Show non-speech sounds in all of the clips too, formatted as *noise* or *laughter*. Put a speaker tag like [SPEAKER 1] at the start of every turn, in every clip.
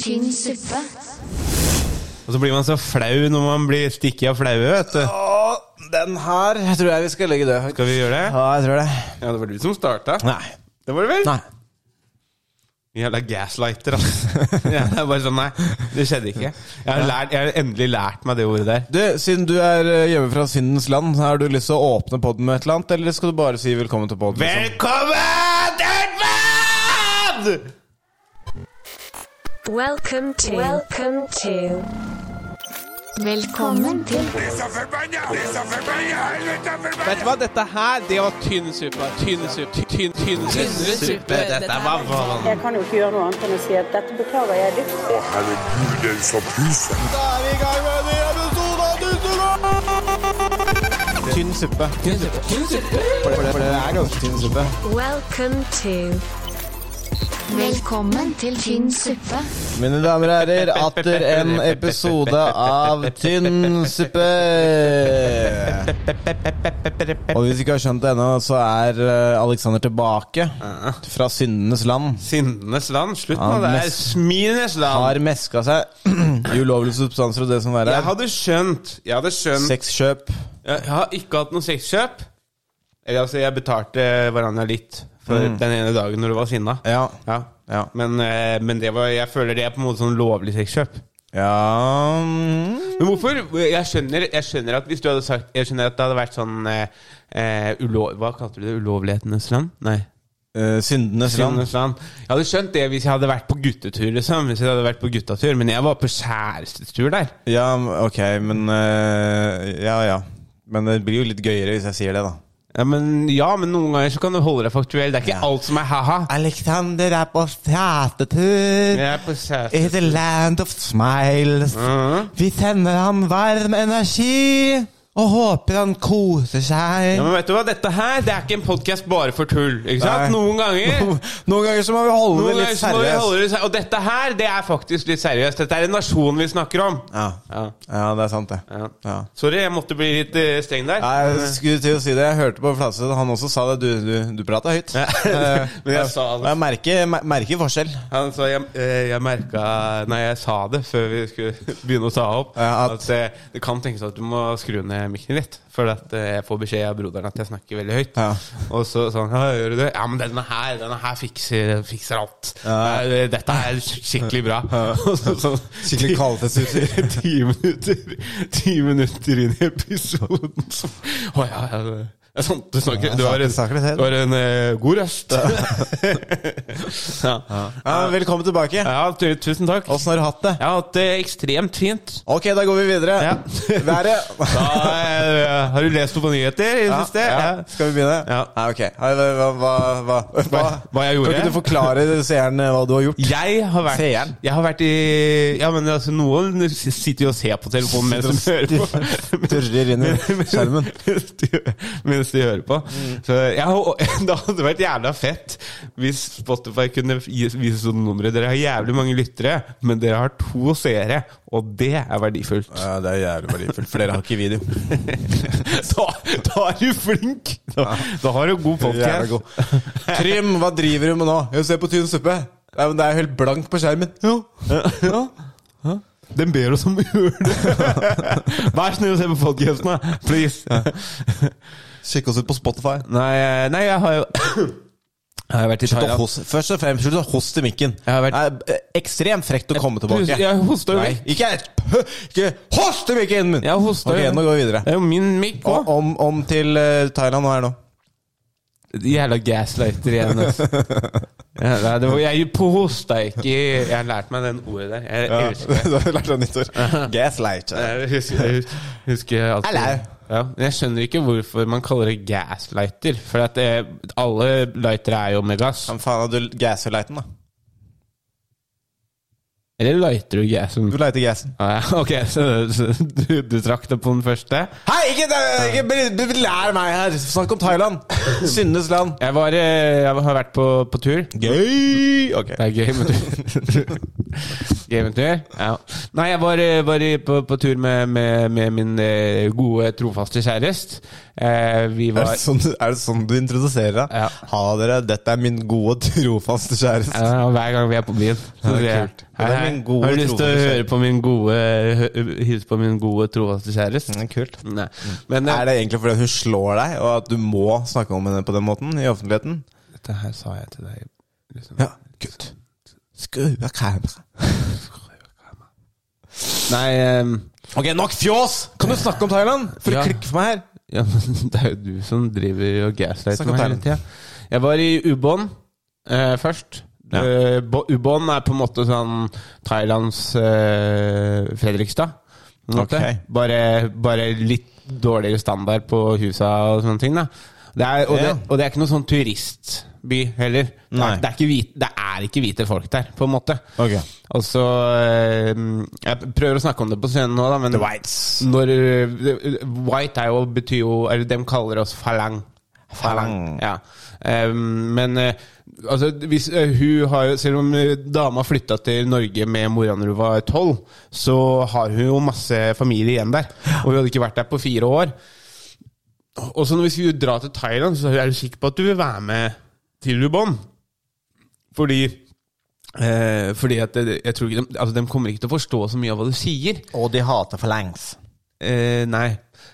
[SPEAKER 1] tynn suppe.
[SPEAKER 2] Og så blir man så flau når man blir stikket av flaue, vet du.
[SPEAKER 3] den her tror jeg vi skal legge død.
[SPEAKER 2] Skal vi gjøre det?
[SPEAKER 3] Ja, jeg tror det.
[SPEAKER 2] Ja, det var du som starta.
[SPEAKER 3] Nei.
[SPEAKER 2] Det var det vel?
[SPEAKER 3] Nei.
[SPEAKER 2] Jævla gaslighter, ass. *laughs* ja, det er bare sånn, nei. Det skjedde ikke. Jeg har, lært, jeg har endelig lært meg det ordet der.
[SPEAKER 3] Du, siden du er eh, hjemme fra syndens land, har du lyst til å åpne podden med et eller annet, eller skal du bare si velkommen til podden? liksom?
[SPEAKER 2] Velkommen, Edvard!
[SPEAKER 4] Welcome to. Welcome to.
[SPEAKER 1] Velkommen til
[SPEAKER 5] Vet du hva, dette her, det var tynn suppe. Tynn suppe. Tynn, tynn, tynn suppe. liksom.
[SPEAKER 2] Dette var vanlig.
[SPEAKER 6] Jeg kan jo ikke gjøre noe annet enn å si at dette beklager jeg dypt.
[SPEAKER 7] Å, herregud, den som puser.
[SPEAKER 3] Da er vi i gang med en ny episode av Dystolan! Tynn suppe. Tynn suppe. For, det, for det er ganske tynn suppe.
[SPEAKER 4] Welcome to.
[SPEAKER 1] Velkommen til tynn suppe.
[SPEAKER 3] Mine damer og herrer, atter en episode av Tynn suppe. Og hvis du ikke har skjønt det ennå, så er eh, Alexander tilbake fra syndenes land.
[SPEAKER 2] Sinnenes land. Slutt
[SPEAKER 3] Ja,
[SPEAKER 2] nå, det er
[SPEAKER 3] mest-
[SPEAKER 2] sminenes land.
[SPEAKER 3] Har meska seg i ulovlige substanser og det som verre
[SPEAKER 2] Jeg
[SPEAKER 3] er.
[SPEAKER 2] hadde skjønt Jeg hadde skjønt
[SPEAKER 3] Sexkjøp.
[SPEAKER 2] Jeg har ikke hatt noe sexkjøp. Eller altså, jeg betalte hverandre litt for den ene dagen når du var sinna.
[SPEAKER 3] Mm. Ja.
[SPEAKER 2] Ja.
[SPEAKER 3] Ja.
[SPEAKER 2] Men, eh, men det var, jeg føler det er på en måte sånn lovlig sexkjøp.
[SPEAKER 3] Ja mm.
[SPEAKER 2] Men hvorfor? Jeg skjønner, jeg skjønner at hvis du hadde sagt Jeg skjønner at det hadde vært sånn eh, eh, ulo, Hva kalte du det? Ulovlighetenes land? Nei.
[SPEAKER 3] Eh, Syndenes land.
[SPEAKER 2] Syndenes land. Jeg hadde skjønt det hvis jeg hadde vært på guttetur, liksom. Hvis jeg hadde vært på guttatur Men jeg var på kjærestetur der.
[SPEAKER 3] Ja, ok, men eh, Ja, ja. Men det blir jo litt gøyere hvis jeg sier det, da.
[SPEAKER 2] Ja, men, ja, men noen ganger så kan du holde deg faktuell. Det er ikke
[SPEAKER 3] Ja.
[SPEAKER 2] alt som er ha-ha.
[SPEAKER 3] Alexander er på teatertur
[SPEAKER 2] Jeg er på
[SPEAKER 3] i the land of smiles.
[SPEAKER 2] Mm-hmm.
[SPEAKER 3] Vi sender ham varm energi og håper han koser seg.
[SPEAKER 2] Ja, men vet du hva, dette her Det er ikke en podkast bare for tull. Ikke sant?
[SPEAKER 3] Nei.
[SPEAKER 2] Noen ganger
[SPEAKER 3] *laughs* Noen ganger så må vi holde
[SPEAKER 2] noen
[SPEAKER 3] det
[SPEAKER 2] ganger
[SPEAKER 3] litt
[SPEAKER 2] så må vi
[SPEAKER 3] seriøst.
[SPEAKER 2] holde det seriøst. Og dette her, det er faktisk litt seriøst. Dette er en nasjon vi snakker om.
[SPEAKER 3] Ja.
[SPEAKER 2] Ja.
[SPEAKER 3] ja, det er sant, det.
[SPEAKER 2] Ja.
[SPEAKER 3] Ja.
[SPEAKER 2] Sorry, jeg måtte bli litt eh, streng der.
[SPEAKER 3] Nei, Jeg skulle til å si det. Jeg hørte på Flatseth, han også sa det. Du, du, du prata høyt.
[SPEAKER 2] Ja,
[SPEAKER 3] Eh,
[SPEAKER 2] *laughs* men jeg sa det.
[SPEAKER 3] Jeg merker, mer- merker forskjell.
[SPEAKER 2] Han sa jeg, eh, jeg merka Nei, jeg sa det før vi skulle *laughs* begynne å ta opp.
[SPEAKER 3] Ja, at-
[SPEAKER 2] at eh, det kan tenkes at du må skru ned mikken litt. For at eh, jeg får beskjed av broderen at jeg snakker veldig høyt.
[SPEAKER 3] Ja.
[SPEAKER 2] Og så sa han ja, gjør du det? Ja, men denne her denne her fikser, fikser alt.
[SPEAKER 3] Ja.
[SPEAKER 2] Det er- Dette er skikkelig
[SPEAKER 3] *laughs*
[SPEAKER 2] bra. Og så, sånn,
[SPEAKER 3] Skikkelig kvalitetsutstyr.
[SPEAKER 2] *laughs* ti minutter Ti minutter inn i episoden så Å ja, ja, det det er sant. Du snakker
[SPEAKER 3] Ja,
[SPEAKER 2] Du har en,
[SPEAKER 3] snakker litt helt.
[SPEAKER 2] du har en eh, god røst. *laughs* ja.
[SPEAKER 3] *laughs* Ja, velkommen tilbake.
[SPEAKER 2] Ja, tu tusen takk.
[SPEAKER 3] Åssen har du hatt det?
[SPEAKER 2] Jeg har hatt det ekstremt fint.
[SPEAKER 3] Ok, da går vi videre.
[SPEAKER 2] Ja.
[SPEAKER 3] *laughs* Været.
[SPEAKER 2] *laughs* Da, eh, har du lest noe på nyheter
[SPEAKER 3] *laughs*
[SPEAKER 2] i det
[SPEAKER 3] Ja,
[SPEAKER 2] siste?
[SPEAKER 3] ja. Skal vi begynne?
[SPEAKER 2] Ja.
[SPEAKER 3] Nei, ok. Hva, hva, hva, hva,
[SPEAKER 2] Hva- hva jeg gjorde?
[SPEAKER 3] Kan ikke du forklare seeren eh, hva du har gjort?
[SPEAKER 2] Jeg har vært
[SPEAKER 3] Seeren.
[SPEAKER 2] Jeg har vært i Ja, men altså, noen sitter jo og ser på telefonen mens de hører
[SPEAKER 3] Sitter og
[SPEAKER 2] på.
[SPEAKER 3] Sturrer
[SPEAKER 2] *laughs*
[SPEAKER 3] inn i skjermen. Mm.
[SPEAKER 2] Mens de- Mens de hører på. Så jeg, har- *laughs* det hadde vært jævla fett hvis Spotify kunne gi- vise sånne numre. Dere har jævlig mange lyttere, men dere har to seere, og det er verdifullt.
[SPEAKER 3] *laughs* Ja, det er jævlig verdifullt, for dere har ikke video.
[SPEAKER 2] *laughs* Da, da er du flink! Da, da har du god *laughs*
[SPEAKER 3] Jævla
[SPEAKER 2] podkast.
[SPEAKER 3] god. Trym, hva driver du med nå? Jeg ser på tynn suppe. Nei, men Det er jo helt blankt på skjermen. Jo. Ja.
[SPEAKER 2] Den ber oss om å gjøre det. *laughs* Vær snill å se på podkasten, da. Please.
[SPEAKER 3] Sjekk oss ut på Spotify.
[SPEAKER 2] Nei, eh, nei, jeg har jo Jeg har vært i
[SPEAKER 3] Slutt å
[SPEAKER 2] Thailand.
[SPEAKER 3] hoste. Først og fremst, slutt å hoste i mikken.
[SPEAKER 2] Jeg har
[SPEAKER 3] Det er ekstremt frekt å komme tilbake.
[SPEAKER 2] Du, jeg hoster jo
[SPEAKER 3] Nei,
[SPEAKER 2] vekk.
[SPEAKER 3] ikke, ikke host i mikken min!
[SPEAKER 2] Jeg hoster
[SPEAKER 3] ok,
[SPEAKER 2] jo vekk.
[SPEAKER 3] nå går vi videre.
[SPEAKER 2] Det er jo min mikk
[SPEAKER 3] Og,
[SPEAKER 2] òg.
[SPEAKER 3] om, om til eh, Thailand nå her nå.
[SPEAKER 2] Jævla gaslighter igjen. *laughs* Altså. Ja, nei, det var, jeg på hosta ikke Jeg har lært meg den ordet der. Jeg
[SPEAKER 3] *laughs*
[SPEAKER 2] elsker det.
[SPEAKER 3] du har lært deg nytt
[SPEAKER 2] *laughs*
[SPEAKER 3] ord. Gaslighter.
[SPEAKER 2] Eh, Jeg husker, jeg husker alltid.
[SPEAKER 3] Hello.
[SPEAKER 2] Ja, men jeg skjønner ikke hvorfor man kaller det gaslighter. For at eh, alle lightere er jo med gass.
[SPEAKER 3] Hva faen hadde du gaslighten, da?
[SPEAKER 2] Eller lighter du gassen?
[SPEAKER 3] Du lighter gassen.
[SPEAKER 2] Ah, ja, *laughs* ok, så, så du, du trakk det på den første?
[SPEAKER 3] Hei, ikke, ikke bli- bli- bli- lær meg her! Snakk om
[SPEAKER 2] *laughs*
[SPEAKER 3] Thailand! Syndenes land.
[SPEAKER 2] Jeg, var, eh, jeg har vært på, på tur.
[SPEAKER 3] Gøy! Ok.
[SPEAKER 2] Det er *laughs* gøy, men du Eventyr? Ja. Nei, jeg var, eh, var i- på, på tur med, med, med min eh, gode, trofaste kjæreste. Eh, vi
[SPEAKER 8] Er
[SPEAKER 2] var
[SPEAKER 8] det, sånn, du- er det sånn du introduserer deg?
[SPEAKER 2] Ja.
[SPEAKER 8] Ha dere, dette er min
[SPEAKER 3] *laughs*
[SPEAKER 8] gode, trofaste kjæreste.
[SPEAKER 2] Ja, hver gang vi er på byen.
[SPEAKER 8] Ja,
[SPEAKER 2] Så sier jeg
[SPEAKER 8] kult. Det
[SPEAKER 2] hei,
[SPEAKER 8] er
[SPEAKER 2] hei,
[SPEAKER 8] min gode
[SPEAKER 2] har du lyst til å
[SPEAKER 8] trofaste
[SPEAKER 2] høre på min gode hø- hilse på min gode trofaste kjæreste?
[SPEAKER 8] Mm, Kult.
[SPEAKER 2] Nei. Men eh,
[SPEAKER 8] Er det egentlig fordi hun slår deg, og at du må snakke om henne på den måten i offentligheten?
[SPEAKER 2] dette her sa jeg til deg liksom.
[SPEAKER 8] Ja, kult. Skru av kameraet.
[SPEAKER 2] Nei ehm,
[SPEAKER 8] Ok, nok fjås! Kan du snakke om Thailand? For
[SPEAKER 2] Ja.
[SPEAKER 8] å klikke for meg her.
[SPEAKER 2] ja, men *laughs* Det er jo du som driver og gaslighter
[SPEAKER 8] Snakk om
[SPEAKER 2] meg hele
[SPEAKER 8] Thailand.
[SPEAKER 2] tida. Jeg var i Ubon eh, først.
[SPEAKER 8] Ja.
[SPEAKER 2] Eh, Bo- Ubon er på en måte sånn Thailands eh, Fredrikstad. på en måte.
[SPEAKER 8] Ok.
[SPEAKER 2] Bare, bare litt dårligere standard på husa og sånne ting. da det er, og,
[SPEAKER 8] Ja.
[SPEAKER 2] det, og det er ikke noen sånn turistby heller. Det
[SPEAKER 8] Nei.
[SPEAKER 2] er, det, er ikke hvite, det er ikke hvite folk der, på en måte.
[SPEAKER 8] Ok.
[SPEAKER 2] Og så eh, Jeg prøver å snakke om det på scenen nå, da, men
[SPEAKER 8] The Whites.
[SPEAKER 2] når eh, White er jo, betyr jo Eller de kaller oss falang. Falang.
[SPEAKER 8] Falang.
[SPEAKER 2] Ja. Eh, men eh, altså, hvis, eh, hun har, jo- selv om eh, dama flytta til Norge med mora når hun var tolv, så har hun jo masse familie igjen der. Og hun hadde ikke vært der på fire år. Og så når vi skulle dra til Thailand, så er du sikker på at du vil være med til Lubon. Fordi eh, Fordi at det, jeg tror ikke de, altså, de kommer ikke til å forstå så mye av hva du sier.
[SPEAKER 8] Og de hater for langs.
[SPEAKER 2] Eh, nei.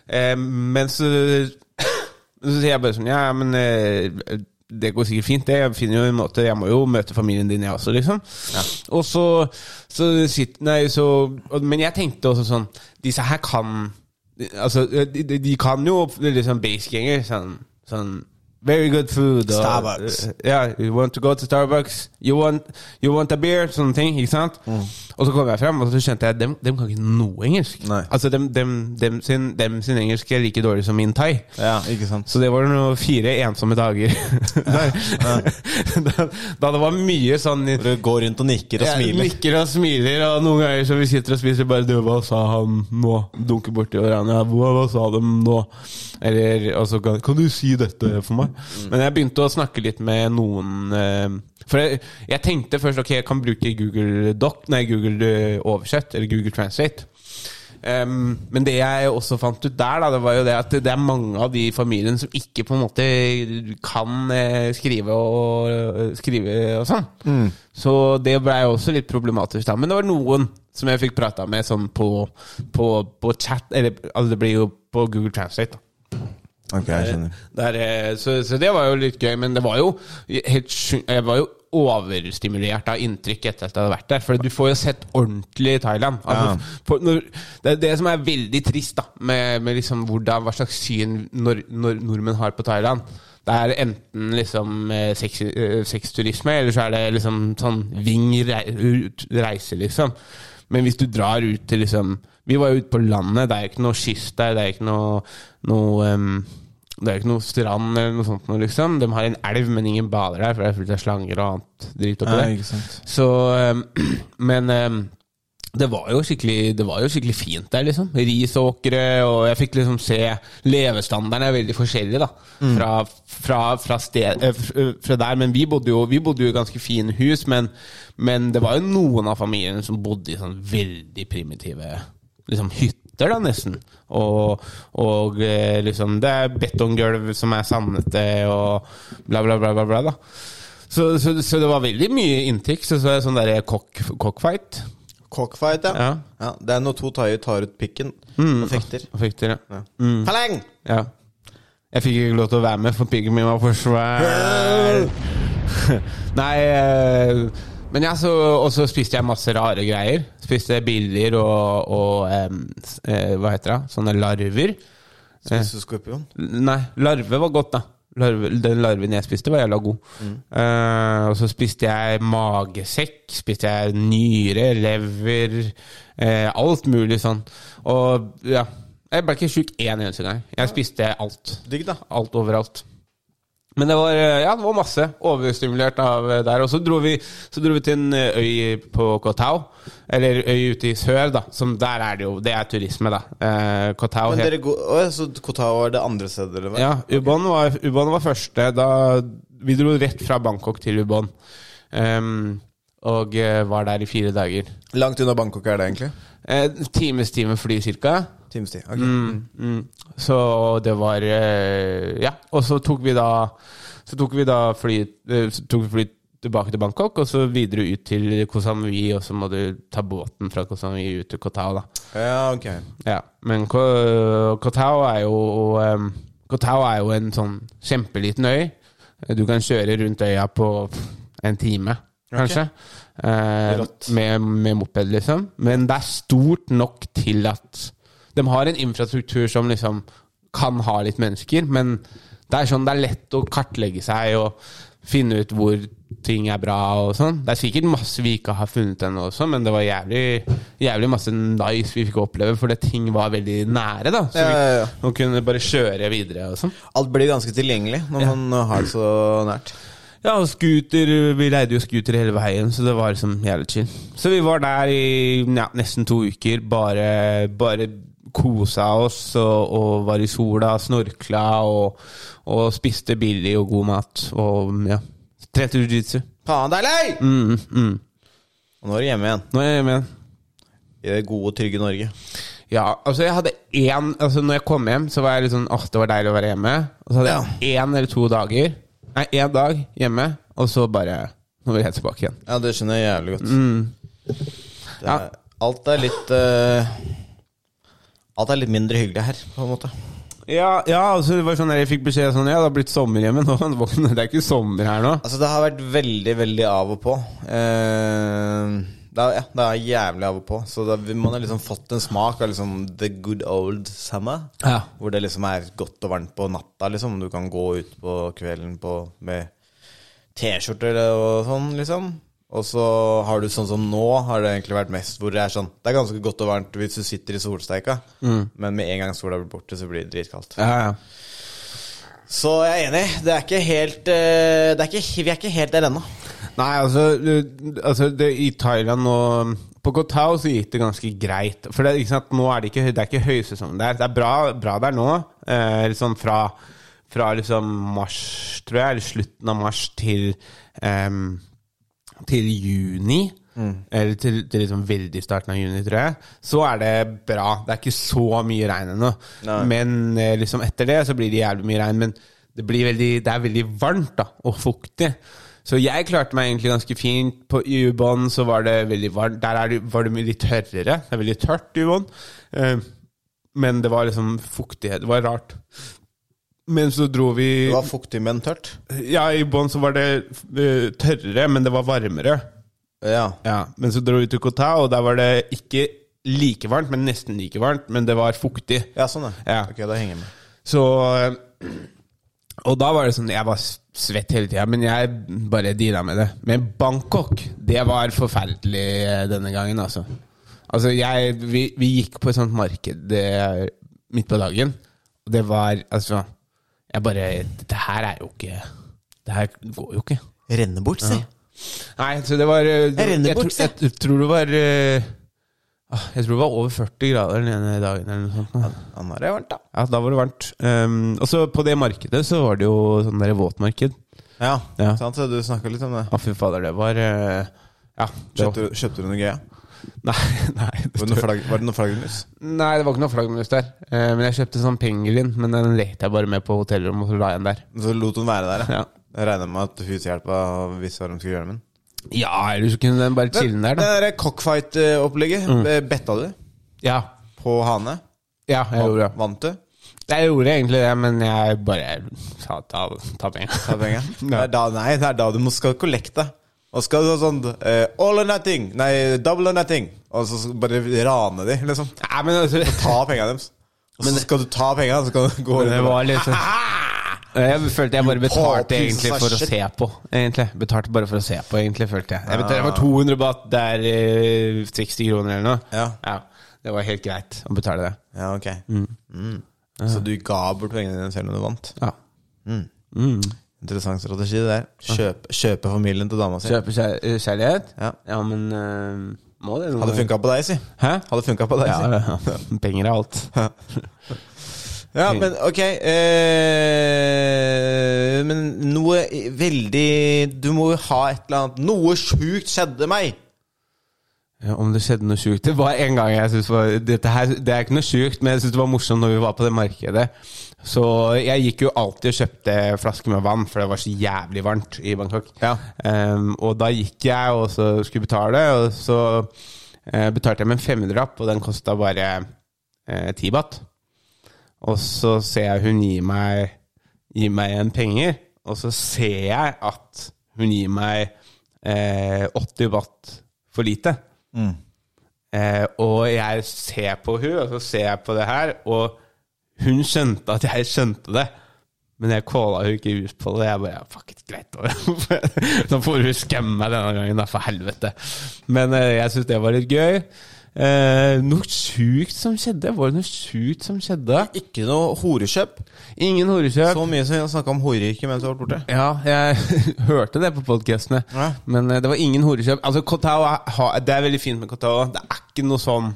[SPEAKER 2] Eh, men så Så sier jeg bare sånn Ja, men eh, det går sikkert fint, det. Jeg finner jo en måte Jeg må jo møte familien din, jeg også, liksom. Og så, så sitter Nei, så og- Men jeg tenkte også sånn Disse her kan Altså, de, de- de kan jo liksom basic engelsk. Sånn, sånn Very good food. og-
[SPEAKER 8] Starbucks.
[SPEAKER 2] ja, you want to go to Starbucks, you want, you want a beer, sånne ting, ikke sant?
[SPEAKER 8] Mm.
[SPEAKER 2] Og så kom jeg frem, og så skjønte jeg at dem, dem kan ikke noe engelsk.
[SPEAKER 8] Nei.
[SPEAKER 2] Altså, dem, dem, dem, sin, dem sin engelsk er like dårlig som min thai.
[SPEAKER 8] Ja, ikke sant.
[SPEAKER 2] Så det var noen fire ensomme dager. *laughs* Der. *laughs* da, da det var mye sånn...
[SPEAKER 8] Du går rundt og nikker og
[SPEAKER 2] Jeg
[SPEAKER 8] smiler.
[SPEAKER 2] nikker og smiler, og noen ganger så vi sitter og spiser bare du, Hva sa han nå? Dunker borti hverandre. Ja, hva, hva sa de nå? Eller og så kan, kan du si dette for meg?
[SPEAKER 8] Mm.
[SPEAKER 2] Men jeg begynte å snakke litt med noen eh, For jeg, jeg tenkte først ok, jeg kan bruke Google Doc, nei, Google eh, Oversett, eller Google Translate. Em, men det jeg også fant ut der, da, det var jo det at det er mange av de i familien som ikke på en måte kan eh, skrive og, skrive og sånn. Så det blei også litt problematisk da. Men det var noen som jeg fikk prata med sånn på, på, på chat, eller altså det blir jo på Google Translate. da.
[SPEAKER 8] Ok, jeg skjønner.
[SPEAKER 2] Der, eh, så, så det var jo litt gøy, men det var jo helt sju- Jeg var jo overstimulert av inntrykk etter at jeg hadde vært der. For du får jo sett ordentlig Thailand. Altså,
[SPEAKER 8] Ja.
[SPEAKER 2] for når, det er det som er veldig trist, da, med, med liksom hvordan, hva slags syn nor, nor, nordmenn har på Thailand. Det er enten liksom eh, sex- eh, sexturisme, eller så er det liksom sånn ving rei- ut- reise, liksom. Men hvis du drar ut til liksom Vi var jo ute på landet, det er ikke noe kyst der, det er ikke noe, noe em, det er jo ikke noe strand eller noe sånt noe, liksom. De har en elv, men ingen bader der, for det er fullt av slanger og annet dritt oppi
[SPEAKER 8] Ja,
[SPEAKER 2] der.
[SPEAKER 8] ikke sant.
[SPEAKER 2] Så ehm, *clears throat* Men ehm, det var, jo skikkelig, det var jo skikkelig fint der, liksom. Risåkre, og jeg fikk liksom se Levestandarden er veldig forskjellig, da. Fra, fra, fra, sted, eh, f- eh, fra der. Men vi bodde jo, vi bodde jo i ganske fine hus, men, men det var jo noen av familiene som bodde i sånn veldig primitive liksom hytter, da, nesten. Og, og eh, liksom Det er betonggulv som er sandete, og bla, bla, bla, bla, bla da. Så, så, så det var veldig mye inntrykk. Så så jeg sånn derre cock, cockfight.
[SPEAKER 8] Cockfight, ja. Mm.
[SPEAKER 2] Ja.
[SPEAKER 8] ja. Det er når to thaier tar ut pikken og fekter.
[SPEAKER 2] Hva Fikk dere?
[SPEAKER 8] Ja. Paleng!
[SPEAKER 2] Ja. Jeg fikk ikke lov til å være med, for piggen min var for
[SPEAKER 8] Eh.
[SPEAKER 2] svær. *laughs* Nei eh, Men ja, så, og så spiste jeg masse rare greier. Spiste biller og, og em, s- eh, Hva heter det? Sånne larver.
[SPEAKER 8] Spiser du skorpion?
[SPEAKER 2] Nei, larve var godt, da. Larve, den larven jeg spiste, var jævla god. Eh, og så spiste jeg magesekk, spiste jeg nyre, lever, eh, alt mulig sånn. Og ja Jeg ble ikke sjuk én eneste gang. Jeg spiste alt.
[SPEAKER 8] Digg, da.
[SPEAKER 2] Alt overalt. Men det var, eh, ja, det var masse. Overstimulert av eh, der. Og så dro vi, så dro vi til en eh, øy på Koh Tao. Eller øy ute i sør, da. Som der er det jo Det er turisme, da. Eh, Koh Tao
[SPEAKER 8] Men
[SPEAKER 2] het-
[SPEAKER 8] dere går, Åh, så Kotao er det andre stedet dere var?
[SPEAKER 2] ja, Ubon var, Ubon var første. Da vi dro rett fra Bangkok til Ubon. Ehm, og eh, var der i fire dager.
[SPEAKER 3] Langt unna Bangkok er det egentlig?
[SPEAKER 2] Eh, times time fly cirka.
[SPEAKER 3] Timestid. ok.
[SPEAKER 2] Mm. Så det var eh, Ja, og så tok vi da Så tok vi da fly, eh, så tok vi fly tilbake til Bangkok, og så videre ut til Koh Samui, og så må du ta båten fra Koh Samui ut til Koh Tao, da.
[SPEAKER 3] Ja, ok.
[SPEAKER 2] Ja, men Ko- Koh Tao er jo um, Koh Tao er jo en sånn kjempeliten øy. Du kan kjøre rundt øya på en time, kanskje. Eh,
[SPEAKER 3] Rått.
[SPEAKER 2] med, med moped, liksom. Men det er stort nok til at De har en infrastruktur som liksom kan ha litt mennesker, men det er sånn det er lett å kartlegge seg og finne ut hvor ting er bra og sånn. Det er sikkert masse vi ikke har funnet ennå også, men det var jævlig, jævlig masse nice vi fikk oppleve, fordi ting var veldig nære, da. Så
[SPEAKER 3] Ja, ja, ja.
[SPEAKER 2] vi man kunne bare kjøre videre og sånn.
[SPEAKER 3] Alt blir ganske tilgjengelig når man har det så nært.
[SPEAKER 2] Ja, og scooter, vi leide jo scooter hele veien, så det var liksom jævlig chill. Så vi var der i ja, nesten to uker, bare, bare kosa oss og, og var i sola, snorkla og, og spiste billig og god mat. Og ja, trente jiu-jitsu.
[SPEAKER 3] Faen, deilig!
[SPEAKER 2] Mm, mm.
[SPEAKER 3] Og nå er du hjemme igjen.
[SPEAKER 2] Nå er jeg hjemme igjen.
[SPEAKER 3] I det gode, trygge Norge.
[SPEAKER 2] Ja, altså jeg hadde én altså Når jeg kom hjem, så var jeg litt sånn Åh, det var deilig å være hjemme. Og så hadde jeg én eller to dager Nei, én dag hjemme, og så bare Nå vil jeg tilbake igjen.
[SPEAKER 3] Ja, det skjønner jeg jævlig godt. Det
[SPEAKER 2] Ja.
[SPEAKER 3] er, alt er litt eh, Alt er litt mindre hyggelig her, på en måte.
[SPEAKER 2] Ja, ja altså det var sånn der jeg fikk beskjed sånn Ja, det har blitt sommer hjemme nå. *laughs* men våkne, Det er ikke sommer her nå.
[SPEAKER 3] Altså, det har vært veldig, veldig av og på. Eh, det, er, ja, det er jævlig av og på. Så da, man har liksom fått en smak av liksom the good old summer.
[SPEAKER 2] Ja.
[SPEAKER 3] Hvor det liksom er godt og varmt på natta, liksom. Du kan gå ut på kvelden på, med T-skjorter og sånn, liksom. Og så har du sånn som nå, har det egentlig vært mest hvor det er sånn Det er ganske godt og varmt hvis du sitter i solsteika, men med en gang sola blir borte, så blir det dritkaldt.
[SPEAKER 2] Mm. Ja, ja.
[SPEAKER 3] Så jeg er enig. Det er ikke helt eh, det er ikke, Vi er ikke helt der ennå.
[SPEAKER 2] Nei, altså, du- altså det, I Thailand og På Koh Tao så gikk det ganske greit. For det, er ikke sant, nå er det ikke, det er ikke høysesong der. Det er bra, bra der nå. Eh, liksom fra, fra liksom mars, tror jeg, eller slutten av mars til eh, em, til juni,
[SPEAKER 3] Mm.
[SPEAKER 2] eller til, til liksom veldig starten av juni, tror jeg, så er det bra. Det er ikke så mye regn ennå. Men eh, liksom etter det så blir det jævlig mye regn. Men det, blir veldig, det er veldig varmt da, og fuktig. Så jeg klarte meg egentlig ganske fint. På i ubånd så var det veldig varmt. Der er det, var det mye litt tørrere. Det er veldig tørt i ubånd. Eh, men det var liksom fuktighet. Det var rart. Men så dro vi
[SPEAKER 3] Det var fuktig, men tørt.
[SPEAKER 2] Ja, i bånn så var det eh, tørrere, men det var varmere.
[SPEAKER 3] Ja.
[SPEAKER 2] Ja, men så dro vi til Koh Tao, og der var det ikke like varmt, men nesten like varmt, men det var fuktig.
[SPEAKER 3] ja, sånn, ja.
[SPEAKER 2] Ja.
[SPEAKER 3] Ok, da henger jeg med.
[SPEAKER 2] Så øh, Og da var det sånn Jeg var s- svett hele tida, men jeg bare deala med det. Men Bangkok, det var forferdelig eh, denne gangen, altså. Altså, jeg Vi, vi gikk på et sånt marked eh, midt på dagen, og det var altså Jeg bare Det her er jo ikke Det her går jo ikke.
[SPEAKER 3] Renne bort, si.
[SPEAKER 2] Nei, så det var eh, Jeg,
[SPEAKER 3] renner
[SPEAKER 2] jeg,
[SPEAKER 3] bort,
[SPEAKER 2] tror- jeg, tror det var eh, ah, Jeg tror det var over 40 grader den ene dagen eller noe sånt. nå.
[SPEAKER 3] Ja, nå er det varmt, da.
[SPEAKER 2] Ja, da var det varmt. Um, og så på det markedet så var det jo sånn der våtmarked.
[SPEAKER 3] Ja,
[SPEAKER 2] Ja.
[SPEAKER 3] sant? Du snakka litt om det.
[SPEAKER 2] Å, fy fader, det var eh, Ja. Det var,
[SPEAKER 3] Kjøpte, kjøpte du noe gøy? ja?
[SPEAKER 2] *laughs* nei, nei, det
[SPEAKER 3] Var det noe
[SPEAKER 2] tror-
[SPEAKER 3] flagg- var det noe flaggermus?
[SPEAKER 2] nei, det var ikke noe flaggermus der. Eh, men jeg kjøpte sånn pengevin, men den lekte jeg bare med på hotellrommet, og så la jeg den der.
[SPEAKER 3] Så lot hun være der,
[SPEAKER 2] Ja.
[SPEAKER 3] Jeg regner med at hushjelpa visste hva de skulle gjøre med den.
[SPEAKER 2] Ja, eller så kunne den bare chille den der, da. Mm.
[SPEAKER 3] Det der cockfight-opplegget, eh, betta du
[SPEAKER 2] Ja,
[SPEAKER 3] på hane?
[SPEAKER 2] ja jeg gjorde det.
[SPEAKER 3] Vant du?
[SPEAKER 2] Jeg gjorde egentlig det, men jeg bare sa ta, ta
[SPEAKER 3] Ta
[SPEAKER 2] penga. *laughs*
[SPEAKER 3] penger? Det er da, nei, det er da du må- skal kollekte. Og skal du ha sånn eh, all or nothing, nei, double or nothing. Og så skal du bare rane de, liksom.
[SPEAKER 2] Nei, men altså
[SPEAKER 3] Ta penga deres. Og så skal du ta penga, så skal du gå
[SPEAKER 2] Men det
[SPEAKER 3] rundt og-
[SPEAKER 2] var liksom
[SPEAKER 3] *laughs*
[SPEAKER 2] Jeg følte jeg bare betalte
[SPEAKER 3] poor piece
[SPEAKER 2] egentlig
[SPEAKER 3] of
[SPEAKER 2] for å
[SPEAKER 3] shit.
[SPEAKER 2] se på. Egentlig Betalte bare for å se på, egentlig, følte jeg. Jeg vet,
[SPEAKER 3] Ah.
[SPEAKER 2] det var 200 baht, det er eh, 60 kroner eller noe.
[SPEAKER 3] Ja.
[SPEAKER 2] Det var helt greit å betale det.
[SPEAKER 3] Ja, ok. Mm. Så du ga bort pengene dine selv om du vant?
[SPEAKER 2] Ja.
[SPEAKER 3] Interessant strategi, det der. Kjøp, kjøpe familien til dama si.
[SPEAKER 2] Kjøpe kjær- eh, kjærlighet?
[SPEAKER 3] Ja.
[SPEAKER 2] men eh, må det noe
[SPEAKER 3] Hadde funka på deg, si.
[SPEAKER 2] Hæ? *laughs*
[SPEAKER 3] Hadde funka på deg,
[SPEAKER 2] Ja, ja. Penger er alt.
[SPEAKER 3] *laughs* Ja, men ok eh, Men noe veldig Du må jo ha et eller annet Noe sjukt skjedde meg!
[SPEAKER 2] Ja, om det skjedde noe sjukt Det var en gang jeg synes var, dette her, Det er ikke noe sjukt, men jeg synes det var morsomt når vi var på det markedet. Så jeg gikk jo alltid og kjøpte flasker med vann, for det var så jævlig varmt i Bangkok.
[SPEAKER 3] Ja.
[SPEAKER 2] Ehm, og da gikk jeg og så skulle betale, og så eh, betalte jeg med en 500-lapp, og den kosta bare eh, 10 baht. Og så ser jeg hun gir meg, gir meg en penger, og så ser jeg at hun gir meg eh, 80 watt for lite.
[SPEAKER 3] Mm.
[SPEAKER 2] Eh, og jeg ser på hun, og så ser jeg på det her, og hun skjønte at jeg skjønte det. Men jeg kåla jo ikke ut på det. Jeg bare ja, fuck it, greit. *laughs* Nå får hun skamme meg denne gangen, da, for helvete. Men eh, jeg syns det var litt gøy. Eh, noe sjukt som skjedde? Var det noe sjukt som skjedde?
[SPEAKER 3] Ikke noe horekjøp.
[SPEAKER 2] Ingen horekjøp.
[SPEAKER 3] Så mye som vi har snakka om horeyrket mens vi har vært borte.
[SPEAKER 2] Ja, jeg *laughs* hørte det på podkastene.
[SPEAKER 3] Ja.
[SPEAKER 2] Men eh, det var ingen horekjøp. Altså, Kotao er, ha- det er veldig fint med Kotao. Det er ikke noe sånn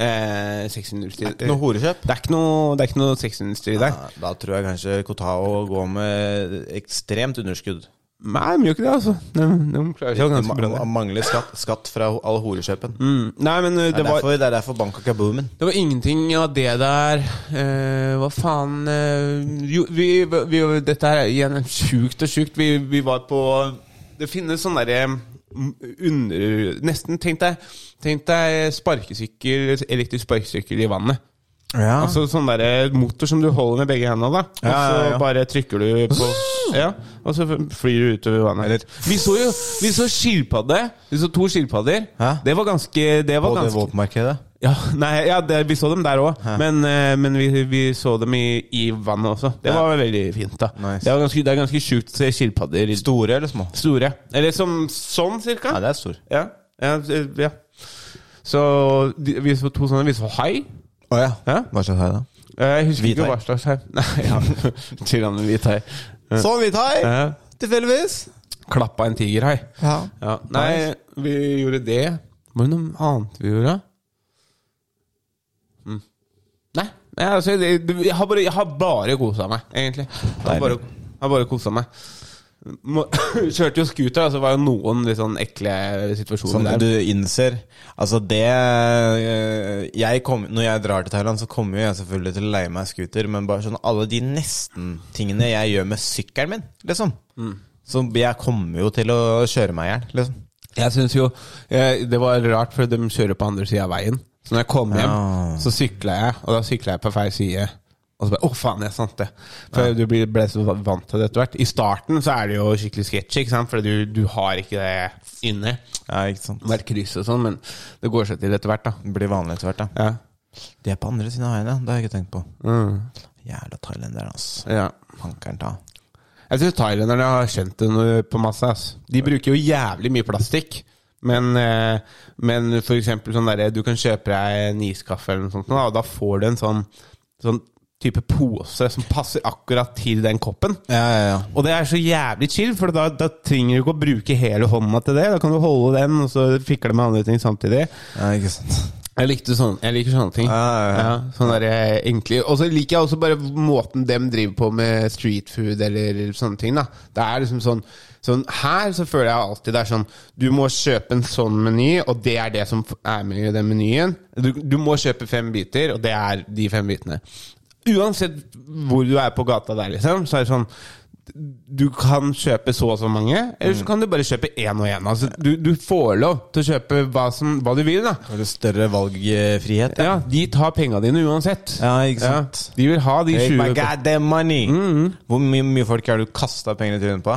[SPEAKER 2] eh, sexindustri.
[SPEAKER 3] Ikke noe horekjøp.
[SPEAKER 2] Det er ikke noe, det er ikke noe sexindustri der.
[SPEAKER 3] Ja, Da tror jeg kanskje Kotao går med ekstremt underskudd.
[SPEAKER 2] Nei, de gjør ikke det, altså. De, de klarer seg jo ganske bra.
[SPEAKER 3] Ma-
[SPEAKER 2] der.
[SPEAKER 3] Mangler skatt, skatt fra ho- all horekjøpen.
[SPEAKER 2] Mm. Nei, men eh,
[SPEAKER 3] Det,
[SPEAKER 2] det
[SPEAKER 3] er
[SPEAKER 2] var,
[SPEAKER 3] derfor, det er derfor Bangkok er boomen.
[SPEAKER 2] det var ingenting av det der. Eh, hva faen eh, Jo, vi, vi, dette her er igjen sjukt og sjukt. Vi, vi var på Det finnes sånne derre mm, under... Nesten, tenk deg, tenk deg sparkesykkel, elektrisk sparkesykkel i vannet.
[SPEAKER 3] Ja.
[SPEAKER 2] Altså sånn der motor som du holder med begge hendene, da. Og så
[SPEAKER 3] Ja, ja, ja.
[SPEAKER 2] bare trykker du på Ja, og så flyr du utover vannet. Vi så jo Vi så skilpadde. Vi så to skilpadder.
[SPEAKER 3] Hæ?
[SPEAKER 2] Det var ganske Det var
[SPEAKER 3] på det
[SPEAKER 2] ganske
[SPEAKER 3] våpenmarkedet.
[SPEAKER 2] Ja, *laughs* nei, ja det, vi så dem der òg, men, eh, men vi, vi så dem i, i vannet også. Det var veldig fint, da.
[SPEAKER 3] Nice.
[SPEAKER 2] Det, var ganske, det er ganske sjukt å se skilpadder i-
[SPEAKER 3] Store eller små?
[SPEAKER 2] store. Eller som sånn, cirka.
[SPEAKER 3] Nei, det er stor.
[SPEAKER 2] Ja. ja, eh, ja. Så de, vi så to sånne. Vi så hai.
[SPEAKER 3] Å ja.
[SPEAKER 2] Hæ?
[SPEAKER 3] Hva slags hai, da?
[SPEAKER 2] Eh, Jeg husker
[SPEAKER 3] Hvithai.
[SPEAKER 2] ikke hva slags her. *laughs* Nei, ja. Tyrann hvithai. Eh,
[SPEAKER 3] Sånn hvit hai!
[SPEAKER 2] eh,
[SPEAKER 3] Tilfeldigvis.
[SPEAKER 2] Klappa en tigerhai.
[SPEAKER 3] Ja.
[SPEAKER 2] Ja. Nei, vi gjorde det. Var det noe annet vi gjorde? Mm. Nei. Nei altså, det, det, jeg har bare, jeg har bare kosa meg, egentlig. Jeg har bare, jeg har bare kosa meg. Må, *laughs* kjørte jo scooter, og så var jo noen litt sånn ekle situasjoner
[SPEAKER 3] Sånn at
[SPEAKER 2] der.
[SPEAKER 3] du innser Altså, det eh, jeg kom, Når jeg drar til Thailand, så kommer jo jeg selvfølgelig til å leie meg scooter, men bare sånn alle de nesten-tingene jeg gjør med sykkelen min, liksom. Så jeg kommer jo til å kjøre meg i hjel, liksom.
[SPEAKER 2] Jeg synes jo eh, Det var rart, for de kjører på andre sida av veien. Så når jeg kom hjem,
[SPEAKER 3] Ja.
[SPEAKER 2] så sykla jeg, og da sykla jeg på feil side. Og så bare Å, faen, det er sant, det. For du blir- ble så vant til det etter hvert. I starten så er det jo skikkelig sketchy, ikke sant? for du, du har ikke det inne.
[SPEAKER 3] Ja, ikke sant.
[SPEAKER 2] Hvert kryss og sånn, men det går seg til etter hvert, da.
[SPEAKER 3] Det blir vanlig etter hvert, da.
[SPEAKER 2] Ja.
[SPEAKER 3] De er på andre siden av veien, ja. Det har jeg ikke tenkt på.
[SPEAKER 2] Mm.
[SPEAKER 3] Jævla thailendere, altså.
[SPEAKER 2] ja.
[SPEAKER 3] Pankeren ta.
[SPEAKER 2] Jeg syns thailanderne har skjønt det noe på masse. Ass. De bruker jo jævlig mye plastikk. Men, eh, men for eksempel sånn derre Du kan kjøpe deg en iskaffe eller noe sånt, da, og da får du en sånn, sånn type pose som passer akkurat til den koppen.
[SPEAKER 3] Ja, ja, ja.
[SPEAKER 2] Og det er så jævlig chill, for da, da trenger du ikke å bruke hele hånda til det. Da kan du holde den, og så fikle med andre ting samtidig.
[SPEAKER 3] ja ikke sant.
[SPEAKER 2] Jeg, likte sånn, jeg liker sånne ting.
[SPEAKER 3] Ja, ja, ja.
[SPEAKER 2] sånn der, eh, egentlig. Og så liker jeg også bare måten dem driver på med street food eller sånne ting. da Det er liksom sånn, sånn Her så føler jeg alltid det er sånn Du må kjøpe en sånn meny, og det er det som f- er med i den menyen. Du, du må kjøpe fem biter, og det er de fem bitene. Uansett hvor du er på gata der, liksom, så er det sånn du kan kjøpe så og så mange, eller
[SPEAKER 3] Mm.
[SPEAKER 2] så kan du bare kjøpe én og én. Altså, du, du får lov til å kjøpe hva, som, hva du vil. da
[SPEAKER 3] Har du større valgfrihet?
[SPEAKER 2] ja, de tar penga dine uansett.
[SPEAKER 3] Ja, ikke sant.
[SPEAKER 2] Ja, de vil ha de
[SPEAKER 3] Make
[SPEAKER 2] 20
[SPEAKER 3] my goddamn money! Hvor mye, mye folk er det du kasta penger i trynet på?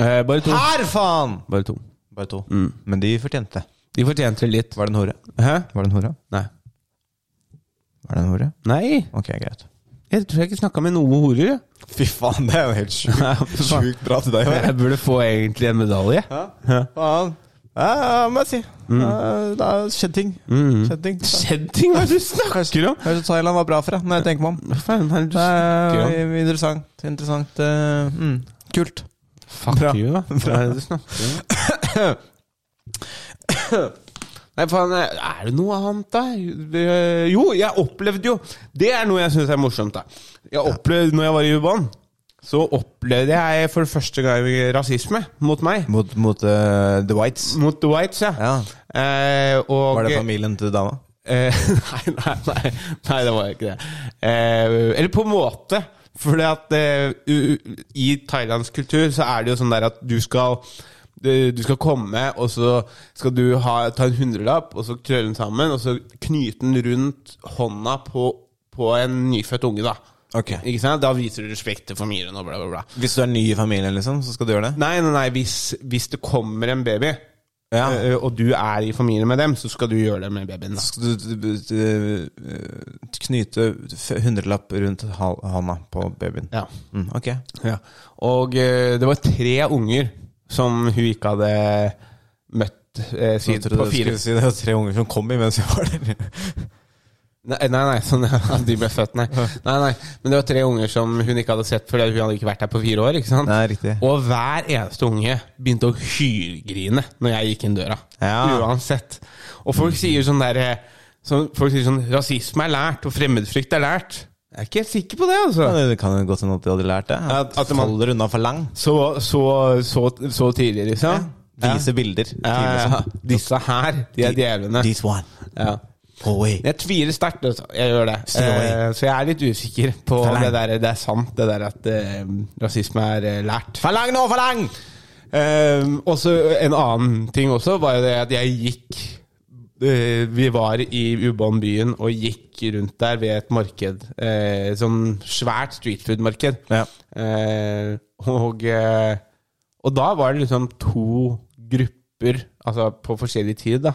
[SPEAKER 2] eh, Bare to.
[SPEAKER 3] Her, faen!
[SPEAKER 2] Bare to.
[SPEAKER 3] Bare to. Men de fortjente det.
[SPEAKER 2] De fortjente det litt.
[SPEAKER 3] Var det en hore?
[SPEAKER 2] Hæ?
[SPEAKER 3] Var det en hore?
[SPEAKER 2] Nei.
[SPEAKER 3] Var det en hore?
[SPEAKER 2] Nei,
[SPEAKER 3] Ok, greit.
[SPEAKER 2] jeg tror jeg ikke snakka med noen horer. jeg.
[SPEAKER 3] Fy faen, det er jo helt *laughs* sjukt
[SPEAKER 2] Ja, fy faen.
[SPEAKER 3] sjukt bra til deg.
[SPEAKER 2] Jeg burde få egentlig en medalje.
[SPEAKER 3] Faen. Ja, ja, må jeg si. Ja, det har skjedd ting. Skjedd ting.
[SPEAKER 2] Skjedd ting, hva er det du snakker om?
[SPEAKER 3] Kanskje Thailand var bra for deg, når jeg tenker meg om.
[SPEAKER 2] Hva faen er det du
[SPEAKER 3] Det
[SPEAKER 2] snakker om?
[SPEAKER 3] er interessant. Interessant. eh, mm. Kult.
[SPEAKER 2] Fuck you, da. Hva er det du snakker om? Nei, faen, er det noe annet, da? Eh, Jo, jeg opplevde jo Det er noe jeg syns er morsomt, da. Jeg opplevde, når jeg var i Uban, så opplevde jeg for første gang rasisme mot meg.
[SPEAKER 3] Mot, mot eh, The Whites.
[SPEAKER 2] Mot the whites, ja.
[SPEAKER 3] Ja.
[SPEAKER 2] Eh, og,
[SPEAKER 3] Var det familien til dama?
[SPEAKER 2] Eh, *laughs* nei, nei, nei, nei, det var jo ikke det. Eh, eller på en måte. Fordi at eh, u, u- i thailandsk kultur så er det jo sånn der at du skal du du skal komme, og så skal du ha, ta en hundrelapp, og så krølle den sammen, og så knyte den rundt hånda på, på en nyfødt unge, da.
[SPEAKER 3] Ok.
[SPEAKER 2] Ikke sant? Da viser du respekt til familien og bla, bla, bla.
[SPEAKER 3] Hvis du er ny i familien, liksom, så skal du gjøre det?
[SPEAKER 2] Nei, nei, nei, hvis, hvis det kommer en baby,
[SPEAKER 3] Ja.
[SPEAKER 2] eh, og du er i familie med dem, så skal du gjøre det med babyen. da.
[SPEAKER 3] Skal du, du, du, du eh, knyte f- hundrelapp rundt hal- hånda på babyen?
[SPEAKER 2] Ja.
[SPEAKER 3] Mm, ok.
[SPEAKER 2] Ja. Og eh, det var tre unger som hun ikke hadde møtt eh,
[SPEAKER 3] Jeg
[SPEAKER 2] siden
[SPEAKER 3] trodde
[SPEAKER 2] på
[SPEAKER 3] du
[SPEAKER 2] fire
[SPEAKER 3] skulle si det var tre unger som kom imens vi var der.
[SPEAKER 2] Nei, nei, nei sånn, *laughs* ja, de ble født, nei. nei. Nei, Men det var tre unger som hun ikke hadde sett før, hun hadde ikke vært her på fire år. ikke sant?
[SPEAKER 3] Nei, riktig.
[SPEAKER 2] Og hver eneste unge begynte å hylgrine når jeg gikk inn døra.
[SPEAKER 3] Ja.
[SPEAKER 2] Uansett. Og folk sier sånn der eh, sånn, Folk sier sånn Rasisme er lært, og fremmedfrykt er lært. Jeg er ikke helt sikker på det, altså.
[SPEAKER 3] Ja, det kan jo godt hende at de hadde lært det. At,
[SPEAKER 2] At- at man-
[SPEAKER 3] faller unna for lang.
[SPEAKER 2] Så, så, så, så tidlig, liksom.
[SPEAKER 3] Vise bilder.
[SPEAKER 2] Ja, ja, ja. altså. Disse her, de er djevlene.
[SPEAKER 3] This one.
[SPEAKER 2] Ja.
[SPEAKER 3] Go away.
[SPEAKER 2] Jeg tviler sterkt, altså. jeg gjør det.
[SPEAKER 3] Stay away.
[SPEAKER 2] Eh, så jeg er litt usikker på om
[SPEAKER 3] Falang.
[SPEAKER 2] det der. Det er sant, det der at eh, rasisme er eh, lært.
[SPEAKER 3] For lang nå, for lang!
[SPEAKER 2] Eh, og så en annen ting også var jo det at jeg gikk eh, Vi var i Ubån byen og gikk rundt der ved et marked. eh, sånn svært streetfood-marked.
[SPEAKER 3] Ja.
[SPEAKER 2] Eh, og, eh, og da var det liksom to grupper, altså på forskjellig tid, da,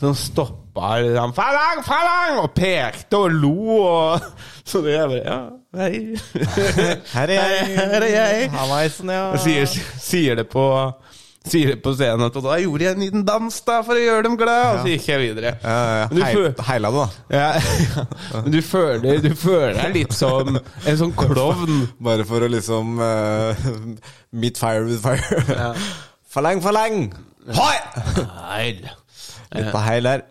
[SPEAKER 2] som stoppa liksom, falang, falang, og pekte og lo. Og, *laughs* så det er bare Ja, hei. *laughs*
[SPEAKER 3] Her er jeg.
[SPEAKER 2] *laughs* Her er jeg.
[SPEAKER 3] Hallaisen, ja.
[SPEAKER 2] Og sier, sier det på Sier det på scenen at Og da gjorde jeg en liten dans da for å gjøre dem glad Og så gikk jeg videre
[SPEAKER 3] Eh,
[SPEAKER 2] Men du
[SPEAKER 3] heil,
[SPEAKER 2] fø-
[SPEAKER 3] heila du, da.
[SPEAKER 2] ja, *laughs* ja. Men du føler, du føler deg litt som En sånn klovn
[SPEAKER 3] Bare for å liksom
[SPEAKER 2] *laughs*
[SPEAKER 3] eh, Meet fire with fire. For lang, for lang! Hoi!
[SPEAKER 2] Heil
[SPEAKER 3] *laughs*
[SPEAKER 2] Eh,
[SPEAKER 3] Litt på heil der.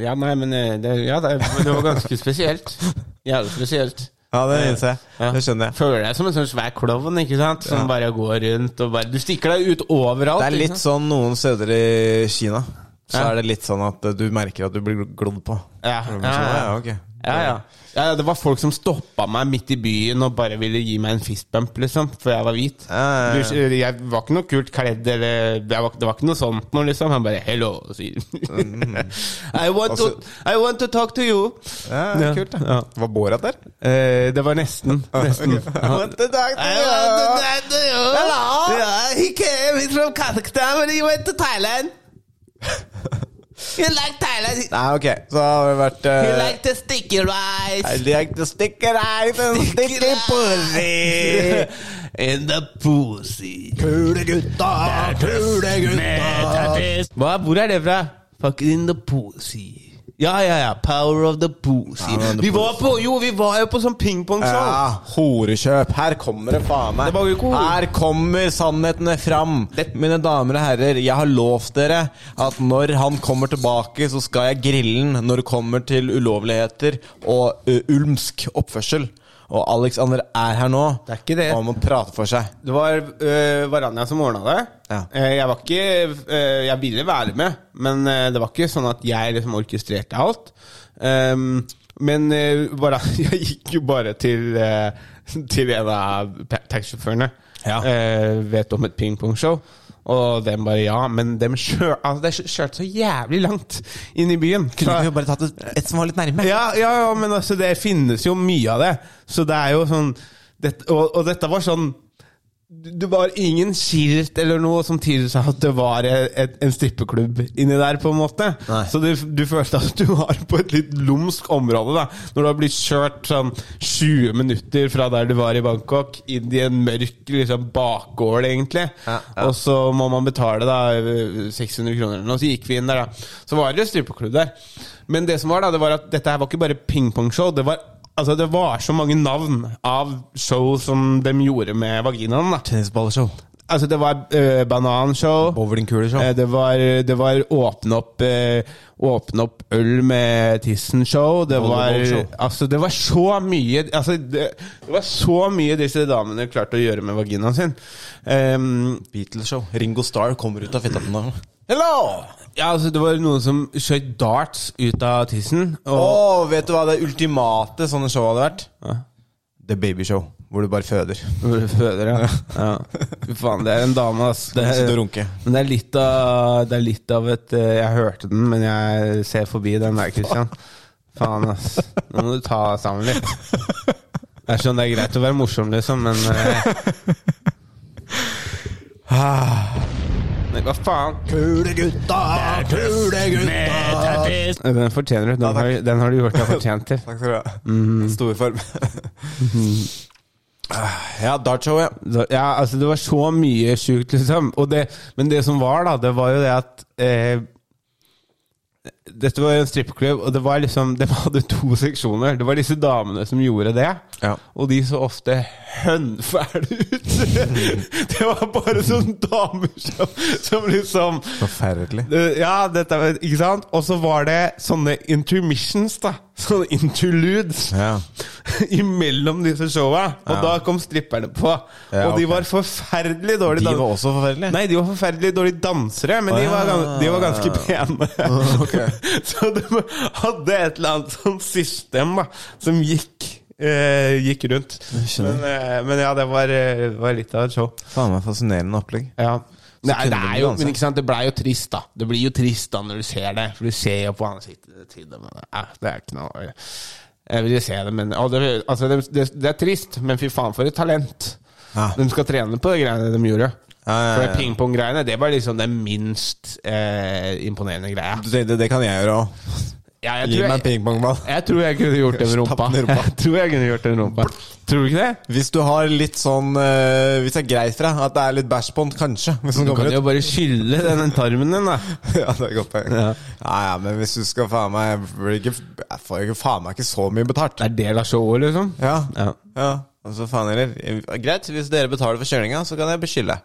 [SPEAKER 2] Ja, nei, men eh, det, ja, det, men det var ganske spesielt *laughs* Jævlig spesielt
[SPEAKER 3] Ja, det innser jeg.
[SPEAKER 2] Ja.
[SPEAKER 3] Det skjønner jeg.
[SPEAKER 2] Føler deg som en sånn svær klovn, ikke sant? Som bare går rundt og bare Du stikker deg ut overalt
[SPEAKER 3] Det er
[SPEAKER 2] ikke
[SPEAKER 3] litt
[SPEAKER 2] sant?
[SPEAKER 3] sånn noen steder i Kina. Så
[SPEAKER 2] Ja.
[SPEAKER 3] er det litt sånn at eh, du merker at du blir gl- glodd på.
[SPEAKER 2] Ja,
[SPEAKER 3] Så,
[SPEAKER 2] ja, ja.
[SPEAKER 3] ja, ok.
[SPEAKER 2] Ja, ja. ja, ja, det var folk som stoppa meg midt i byen og bare ville gi meg en fistbump, liksom, for jeg var hvit.
[SPEAKER 3] Ja, ja, ja.
[SPEAKER 2] Du, jeg var ikke noe kult kledd, eller jeg var, Det var ikke noe sånt noe, liksom. Han bare 'hello', og sier *laughs* I, want to, I want to talk to you.
[SPEAKER 3] Mm. Altså- Ja, kult, da.
[SPEAKER 2] Ja.
[SPEAKER 3] Var Borat der?
[SPEAKER 2] Eh, det var nesten. *laughs*
[SPEAKER 3] *laughs*
[SPEAKER 2] Nesten. Ja.
[SPEAKER 3] What the dog
[SPEAKER 2] I want to talk to you. Yeah, he came. He's from Kazakhstan, but he went to *laughs* Thailand. He liked Thailand.
[SPEAKER 3] Nei, ok, så har vi vært
[SPEAKER 2] He
[SPEAKER 3] eh,
[SPEAKER 2] liked the sticky rice.
[SPEAKER 3] I like to stick it out and stick it pussy.
[SPEAKER 2] In the pussy.
[SPEAKER 3] Kule gutta, kule gutta.
[SPEAKER 2] Hva, hvor er det fra? Fucking in the pussy. Ja, ja, ja. Power of the pussy.
[SPEAKER 3] Ja, the
[SPEAKER 2] vi var på, jo, vi var jo på sånn pingpongshow.
[SPEAKER 3] Ja, horekjøp. Her kommer det faen meg.
[SPEAKER 2] Det var jo ikke hore.
[SPEAKER 3] Her kommer sannhetene fram. Mine damer og herrer, jeg har lovt dere at når han kommer tilbake, så skal jeg grille han når det kommer til ulovligheter og ø, ulmsk oppførsel. Og Alexander er her nå.
[SPEAKER 2] Det er ikke det.
[SPEAKER 3] Han må prate for seg.
[SPEAKER 2] Det var uh, Varanja som ordna det.
[SPEAKER 3] Ja.
[SPEAKER 2] Eh, jeg var ikke eh, Jeg ville være med, men eh, det var ikke sånn at jeg liksom orkestrerte alt. Ehm, men eh, Varan- jeg *laughs* gikk jo bare til eh, Til en av pa- taxisjåførene.
[SPEAKER 3] Ja.
[SPEAKER 2] Eh, vet om et pingpongshow. Og dem bare ja, men dem kjør, altså, de kjørte så jævlig langt inn i byen.
[SPEAKER 3] Kunne
[SPEAKER 2] Fra-
[SPEAKER 3] vi jo bare tatt et, et som var litt nærme?
[SPEAKER 2] ja, ja, ja, men altså, det finnes jo mye av det. Så det er jo sånn det, og, og dette var sånn Det var ingen skilt eller noe som tilsa at det var et, en strippeklubb inni der, på en måte.
[SPEAKER 3] Nei.
[SPEAKER 2] Så du, du følte at du var på et litt lumsk område, da. Når du har blitt kjørt sånn 20 minutter fra der du var i Bangkok, inn i en mørk liksom, bakgård, egentlig.
[SPEAKER 3] Ja, ja.
[SPEAKER 2] Og og så må man betale da 600 kroner eller noe. Så gikk vi inn der, da. Så var det strupeklubb der. Men det som var da, det var at dette her var ikke bare pingpongshow. Det var, altså, det var så mange navn av show som de gjorde med vaginaen. da
[SPEAKER 3] Tennisballshow.
[SPEAKER 2] Altså, det var eh, bananshow.
[SPEAKER 3] Bowlingkuler sånn.
[SPEAKER 2] Eh, Det var, det var åpne, opp, eh, åpne opp øl med tissen-show. Det, var-
[SPEAKER 3] Volleyball-show.
[SPEAKER 2] altså, det var så mye altså, det, det var så mye disse damene klarte å gjøre med vaginaen sin. Ehm,
[SPEAKER 3] Beatles-show. Ringo Starr kommer ut av fitta på den. Hello!
[SPEAKER 2] ja, altså, det var noen som skjøt darts ut av tissen.
[SPEAKER 3] Å,
[SPEAKER 2] Og,
[SPEAKER 3] vet du hva det ultimate sånne show hadde vært?
[SPEAKER 2] Ja.
[SPEAKER 3] The Baby Show, hvor du bare føder.
[SPEAKER 2] Hvor du føder, ja. ja. Fy faen, det er en dame, ass. Det er,
[SPEAKER 3] Sitte og runke.
[SPEAKER 2] men det er litt av, det er litt av et eh, Jeg hørte den, men jeg ser forbi den der, Christian. Faen, ass. Nå må du ta deg sammen litt. Det er sånn, det er greit å være morsom, liksom, men eh, Men hva faen?
[SPEAKER 3] Kule gutta, kule gutta!
[SPEAKER 2] Den fortjener du. Den har, den har du gjort deg fortjent til.
[SPEAKER 3] Takk skal du ha. Storform. *laughs* ja, dartshow, ja.
[SPEAKER 2] Så- Ja, altså det var så mye sjukt, liksom. Og det, men det som var, da, det var jo det at eh, Dette var jo en strippeklubb, og det var liksom *laughs* De hadde to seksjoner. Det var disse damene som gjorde det.
[SPEAKER 3] Ja.
[SPEAKER 2] Og de så ofte hønfæle ut! *laughs* det var bare sånne damer som, som liksom
[SPEAKER 3] Forferdelig.
[SPEAKER 2] det- Ja, dette er- ikke sant? Og så var det sånne intermissions, da. Sånne interludes
[SPEAKER 3] Ja.
[SPEAKER 2] *laughs* imellom disse showa. Og da kom stripperne på.
[SPEAKER 3] Ja,
[SPEAKER 2] og de
[SPEAKER 3] ok.
[SPEAKER 2] var forferdelig dårlige
[SPEAKER 3] De
[SPEAKER 2] dan-
[SPEAKER 3] var også forferdelige.
[SPEAKER 2] Nei, de var forferdelig dårlige dansere, men de, var gans de var ganske pene.
[SPEAKER 3] *laughs* Ok.
[SPEAKER 2] *laughs* så de hadde et eller annet sånn system da, som gikk. eh, gikk rundt.
[SPEAKER 3] skjønner.
[SPEAKER 2] Men, eh, men ja, det var, eh, var litt av et show.
[SPEAKER 3] Faen meg fascinerende opplegg.
[SPEAKER 2] Ja. Nei,
[SPEAKER 3] kunne
[SPEAKER 2] det
[SPEAKER 3] de
[SPEAKER 2] er jo,
[SPEAKER 3] danse.
[SPEAKER 2] men ikke sant, det blei jo trist, da. Det blir jo trist da når du ser det, for du ser jo på ansiktet til dem. og det er- Det er ikke noe Jeg vil jo se det, men og det, altså, det, det, det er trist, men fy faen for et talent.
[SPEAKER 3] Ja. Eh.
[SPEAKER 2] De skal trene på de greiene de gjorde.
[SPEAKER 3] Ja, ja, ja,
[SPEAKER 2] For
[SPEAKER 3] ja.
[SPEAKER 2] det pingpong-greiene, det var liksom den minst eh, imponerende greia.
[SPEAKER 3] Du tenkte det kan jeg gjøre òg.
[SPEAKER 2] Ja, jeg,
[SPEAKER 3] Gi
[SPEAKER 2] tror
[SPEAKER 3] meg en
[SPEAKER 2] jeg,
[SPEAKER 3] pingpongball.
[SPEAKER 2] jeg tror jeg kunne gjort det med rumpa.
[SPEAKER 3] Stapp den i rumpa.
[SPEAKER 2] *laughs* Jeg tror jeg kunne gjort det med rumpa. Tror du ikke det?
[SPEAKER 3] Hvis du har litt sånn eh, Hvis det er greit for deg at det er litt bæsj på den, kanskje. Hvis den
[SPEAKER 2] Du kan
[SPEAKER 3] kommer
[SPEAKER 2] jo
[SPEAKER 3] ut.
[SPEAKER 2] bare skylle den tarmen din, da.
[SPEAKER 3] *laughs* ja, det er godt poeng. Ja.
[SPEAKER 2] Ja.
[SPEAKER 3] ja, men hvis du skal faen meg blir ikke- Jeg får ikke faen meg ikke så mye betalt.
[SPEAKER 2] Det er del av showet, liksom.
[SPEAKER 3] Ja. ja.
[SPEAKER 2] Ja.
[SPEAKER 3] Altså, faen heller. Eh, Greit, hvis dere betaler for kjølinga, så kan jeg beskylde.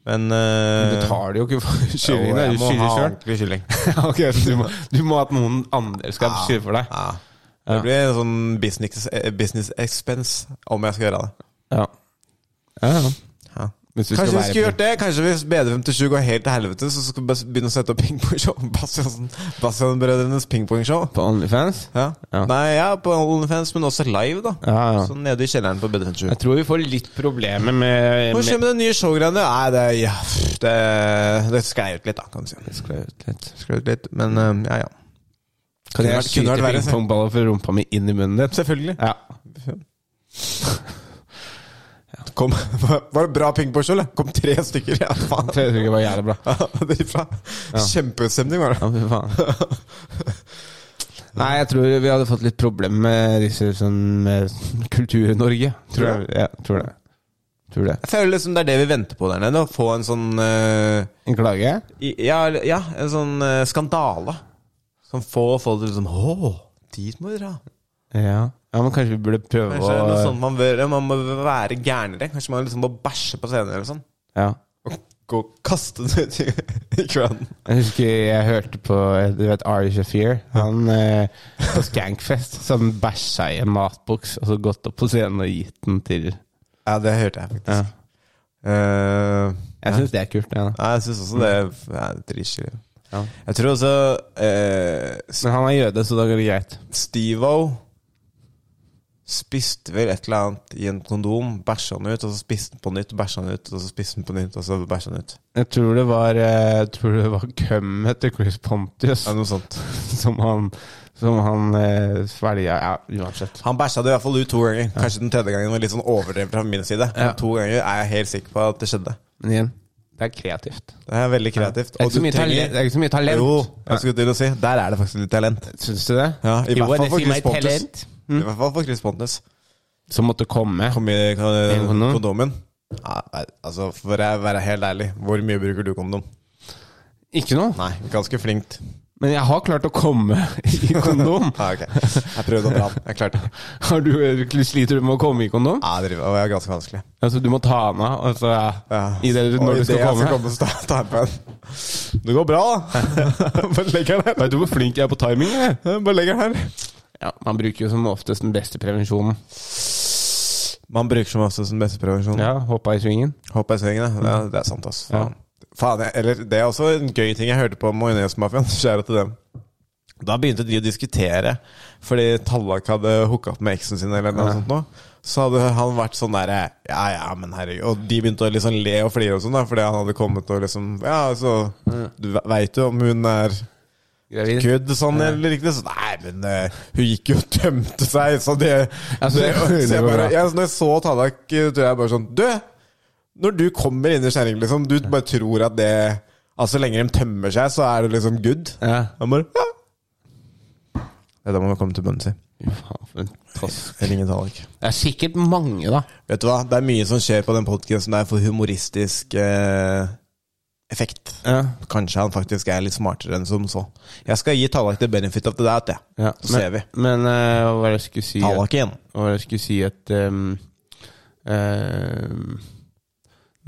[SPEAKER 3] Men eh,
[SPEAKER 2] betaler jo ikke for
[SPEAKER 3] jo,
[SPEAKER 2] kyllingen.
[SPEAKER 3] jeg
[SPEAKER 2] Du
[SPEAKER 3] må
[SPEAKER 2] skyller
[SPEAKER 3] ha
[SPEAKER 2] sjøl.
[SPEAKER 3] ordentlig kylling.
[SPEAKER 2] ok, så du må, du må at noen andre skal
[SPEAKER 3] Ja.
[SPEAKER 2] skylde for deg.
[SPEAKER 3] Ja.
[SPEAKER 2] *laughs* Ja.
[SPEAKER 3] Det blir en sånn business, eh, business expense om jeg skal gjøre det.
[SPEAKER 2] Ja. Ja, ja.
[SPEAKER 3] Ja.
[SPEAKER 2] Hvis du
[SPEAKER 3] Kanskje vi
[SPEAKER 2] være
[SPEAKER 3] skulle gjort det? Kanskje hvis BD57 går helt til helvete, så skal vi bare begynne å sette opp pingpongshow? *laughs* Bastian- Bastian-brødrenes pingpongshow?
[SPEAKER 2] på OnlyFans?
[SPEAKER 3] Ja.
[SPEAKER 2] Ja.
[SPEAKER 3] Nei, ja, på OnlyFans, men også live, da.
[SPEAKER 2] Ja, ja.
[SPEAKER 3] Så nede i kjelleren på BD57.
[SPEAKER 2] Jeg tror vi får litt problemer med,
[SPEAKER 3] Hva
[SPEAKER 2] med
[SPEAKER 3] skjer med de nye showgreiene? Nei, det, ja, pff, det, det sklei ut litt, da, kan du si.
[SPEAKER 2] Sklei ut litt.
[SPEAKER 3] Sklei ut litt, men eh, ja, ja.
[SPEAKER 2] Kan
[SPEAKER 3] Kunne
[SPEAKER 2] jeg
[SPEAKER 3] vært- kunne
[SPEAKER 2] skyte
[SPEAKER 3] vært verre, sier.
[SPEAKER 2] pingpongballer fra rumpa mi inn i munnen din?
[SPEAKER 3] Selvfølgelig.
[SPEAKER 2] Ja.
[SPEAKER 3] Kom, *laughs* var det bra pingpongshow, eller? Kom tre stykker, ja, faen.
[SPEAKER 2] Tror jeg det var jævlig bra.
[SPEAKER 3] *laughs* Ja, Dritbra. Kjempeutstemning, var det.
[SPEAKER 2] Ja, fy *laughs* faen. Nei, jeg tror vi hadde fått litt problemer med disse sånn med Kultur-Norge. Tror jeg. Ja, tror det. Tror det.
[SPEAKER 3] Jeg føler liksom det er det vi venter på der nede. Å få en sånn eh,
[SPEAKER 2] En klage?
[SPEAKER 3] i- ja, eller- ja, en sånn eh, skandale. Som får folk til liksom Å, dit må vi dra.
[SPEAKER 2] Ja. ja, men kanskje vi burde prøve
[SPEAKER 3] Kanskje det er noe sånn-
[SPEAKER 2] å
[SPEAKER 3] sånt man bør Man må være gærnere. Kanskje man liksom må bæsje på scenen eller sånn.
[SPEAKER 2] Ja.
[SPEAKER 3] Og gå og kaste det ut i- i crowden.
[SPEAKER 2] Jeg husker jeg hørte på du vet, Ari Shafir. Han eh, på Skankfest så hadde han bæsja i en matboks og så gått opp på scenen og gitt den til
[SPEAKER 3] Ja, det hørte jeg
[SPEAKER 2] ja.
[SPEAKER 3] faktisk. Eh,
[SPEAKER 2] Jeg syns det er kult. Ja. da.
[SPEAKER 3] ja, jeg syns også det er dritskilig.
[SPEAKER 2] Ja.
[SPEAKER 3] Jeg tror også eh,
[SPEAKER 2] Men han er jøde, så da går det greit.
[SPEAKER 3] Steve-O spiste vel et eller annet i en kondom, bæsja den ut, og så spiste den på nytt, bæsja den ut, og så spiste den på nytt, og så bæsja den ut.
[SPEAKER 2] Jeg tror det var eh, jeg tror det var kømmet til Chris Pontius
[SPEAKER 3] Ja, noe sånt.
[SPEAKER 2] *laughs* som han, som han eh, svelga. Ja, uansett.
[SPEAKER 3] Han bæsja det i hvert fall ut to ganger. Kanskje den tredje gangen var litt sånn overdrevet fra min side. Men
[SPEAKER 2] Ja.
[SPEAKER 3] to ganger er jeg helt sikker på at det skjedde.
[SPEAKER 2] Men igjen, det er kreativt.
[SPEAKER 3] Det er veldig kreativt.
[SPEAKER 2] Det er ikke så mye talent. Det er ikke så mye talent.
[SPEAKER 3] Jo, jeg skulle til å si. Der er det faktisk litt talent.
[SPEAKER 2] Syns du det?
[SPEAKER 3] Ja, i
[SPEAKER 2] Jo,
[SPEAKER 3] hvert fall
[SPEAKER 2] det
[SPEAKER 3] for
[SPEAKER 2] sier meg
[SPEAKER 3] Chris Pontus.
[SPEAKER 2] talent. Mm.
[SPEAKER 3] I hvert fall for Chris Pontus.
[SPEAKER 2] Som måtte komme.
[SPEAKER 3] Hvor mye kan
[SPEAKER 2] kondom?
[SPEAKER 3] kondomen? Ja, nei, altså, for å være helt ærlig, hvor mye bruker du kondom?
[SPEAKER 2] Ikke noe?
[SPEAKER 3] Nei, ganske flinkt.
[SPEAKER 2] Men jeg har klart å komme i
[SPEAKER 3] *laughs*
[SPEAKER 2] kondom.
[SPEAKER 3] Ja, ok. Jeg prøvde å dra den. Jeg klarte det.
[SPEAKER 2] Har du, sliter du med å komme i kondom?
[SPEAKER 3] Ja, det var ganske vanskelig.
[SPEAKER 2] Altså, du må ta den av altså, ja.
[SPEAKER 3] Ja.
[SPEAKER 2] i det,
[SPEAKER 3] Og i
[SPEAKER 2] når du
[SPEAKER 3] det
[SPEAKER 2] skal
[SPEAKER 3] jeg
[SPEAKER 2] komme.
[SPEAKER 3] så ta- tar jeg på en. Det går bra, da.
[SPEAKER 2] *laughs*
[SPEAKER 3] *laughs* Bare legger den her.
[SPEAKER 2] Vet du hvor flink jeg er på timing? Jeg?
[SPEAKER 3] Bare legger den her.
[SPEAKER 2] Ja, man bruker jo som oftest den beste prevensjonen.
[SPEAKER 3] Man bruker som oftest den beste prevensjonen.
[SPEAKER 2] Ja, Hoppa i svingen.
[SPEAKER 3] Hoppe i svingen, ja. ja. Det er sant, ass.
[SPEAKER 2] Ja.
[SPEAKER 3] Faen. Faen, jeg, eller, det er også en gøy ting jeg hørte på Majonesmafiaen. *laughs* Kjære til dem. Da begynte de å diskutere, fordi Tallak hadde hooka opp med eksen sin. eller noe sånt nå. Så hadde han vært sånn derre Ja, ja, men herregud. Og de begynte å liksom le og flire og sånn, da, fordi han hadde kommet og liksom Ja, altså, du veit jo om hun er
[SPEAKER 2] Gravid.
[SPEAKER 3] kødd sånn eller ikke. Så, nei, men eh, hun gikk jo og tømte seg, så det,
[SPEAKER 2] Ja, så
[SPEAKER 3] det,
[SPEAKER 2] det- det
[SPEAKER 3] *laughs* så jeg
[SPEAKER 2] var
[SPEAKER 3] bare,
[SPEAKER 2] bra.
[SPEAKER 3] ja, så Når jeg så Tallak, eh, tror jeg bare sånn Du! Når du kommer inn i skjæring, liksom, du bare tror at det Altså, så lenge de tømmer seg, så er det liksom good.
[SPEAKER 2] Ja.
[SPEAKER 3] Han bare ja. Det er da man må komme til bønnen sin.
[SPEAKER 2] Fy faen, for en tosk.
[SPEAKER 3] Jeg ringer Tallak.
[SPEAKER 2] Det er sikkert mange, da.
[SPEAKER 3] Vet du hva, det er mye som skjer på den podkasten der for humoristisk eh, effekt.
[SPEAKER 2] Ja.
[SPEAKER 3] Kanskje han faktisk er litt smartere enn som så. Jeg skal gi Tallak the benefit of the doubt, jeg.
[SPEAKER 2] Ja,
[SPEAKER 3] Så ser vi.
[SPEAKER 2] Men eh, hva var det jeg skulle si?
[SPEAKER 3] Tallak igjen.
[SPEAKER 2] Hva var det jeg skulle si at ehm, ehm,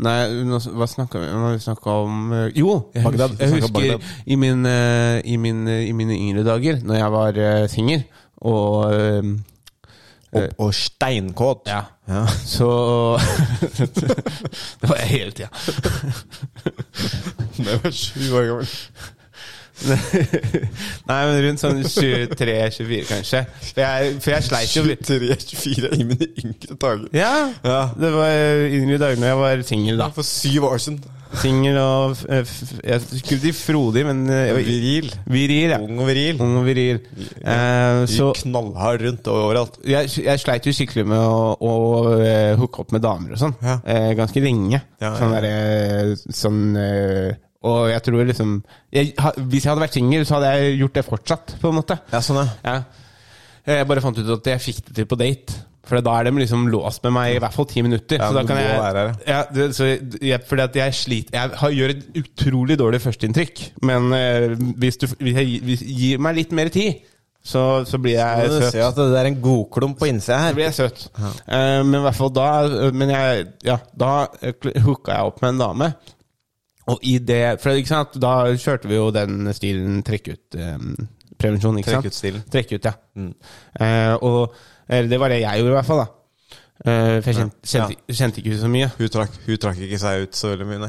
[SPEAKER 2] Nei, nå s- hva snakka vi om? Vi snakka om eh, Jo! Jeg husker,
[SPEAKER 3] Bagdad. Vi
[SPEAKER 2] jeg
[SPEAKER 3] snakket
[SPEAKER 2] husker
[SPEAKER 3] om Bagdad.
[SPEAKER 2] i, min, eh, i, min, eh, i mine yngre dager, når jeg var uh, singel og ehm, eh,
[SPEAKER 3] Og, og steinkåt.
[SPEAKER 2] Ja.
[SPEAKER 3] Ja.
[SPEAKER 2] Så *laughs* Det var jeg hele tida.
[SPEAKER 3] *laughs* Det var sju år gammel.
[SPEAKER 2] Nei, men rundt sånn 23-24, kanskje. For jeg, for jeg sleit jo
[SPEAKER 3] 23-24 i mine yngre dager.
[SPEAKER 2] Ja,
[SPEAKER 3] Ja.
[SPEAKER 2] det var i yngre dager når jeg var singel, da.
[SPEAKER 3] For syv år siden.
[SPEAKER 2] Singel og f- f- Jeg skulle si frodig, men eh, jeg var-
[SPEAKER 3] Viril.
[SPEAKER 2] Viril, ja.
[SPEAKER 3] Ung og viril.
[SPEAKER 2] Ung og viril. Eh,
[SPEAKER 3] Mm. Så
[SPEAKER 2] så
[SPEAKER 3] knallhard rundt og overalt.
[SPEAKER 2] jeg, jeg sleit jo skikkelig med å, å eh, hooke opp med damer og sånn.
[SPEAKER 3] Ja.
[SPEAKER 2] Eh, ganske lenge.
[SPEAKER 3] Ja, ja,
[SPEAKER 2] Sånn
[SPEAKER 3] ja.
[SPEAKER 2] derre Sånn eh, Og jeg tror liksom jeg, ha, Hvis jeg hadde vært singel, så hadde jeg gjort det fortsatt, på en måte.
[SPEAKER 3] Ja, sånn, ja.
[SPEAKER 2] Ja. Eh, Jeg bare fant ut at jeg fikk det til på date. For da er de liksom låst med meg i hvert fall ti minutter.
[SPEAKER 3] Ja,
[SPEAKER 2] så da
[SPEAKER 3] du
[SPEAKER 2] kan
[SPEAKER 3] må
[SPEAKER 2] jeg,
[SPEAKER 3] være her,
[SPEAKER 2] ja, det, så jeg, fordi at jeg sliter Jeg har, gjør et utrolig dårlig førsteinntrykk. Men eh, hvis du hvis jeg, hvis, gir meg litt mer tid, så, så blir
[SPEAKER 3] Nå
[SPEAKER 2] jeg
[SPEAKER 3] må du
[SPEAKER 2] søt.
[SPEAKER 3] se at det er en godklump på innsida
[SPEAKER 2] Så blir
[SPEAKER 3] her.
[SPEAKER 2] jeg søt. Eh, men i hvert fall da eh, Men jeg, ja, da eh, kl- hooka jeg opp med en dame. Og i det For ikke sant, da kjørte vi jo den stilen trekk ut eh, prevensjon, ikke sant?
[SPEAKER 3] Trekk ut stilen.
[SPEAKER 2] Trekk ut, ja. Eh, og eller det var det jeg gjorde, i hvert fall. da Eh, For jeg kjente,
[SPEAKER 3] Ja.
[SPEAKER 2] kjente, kjente ikke så mye.
[SPEAKER 3] Hun trakk, hun trakk ikke seg ut så veldig mye, nei.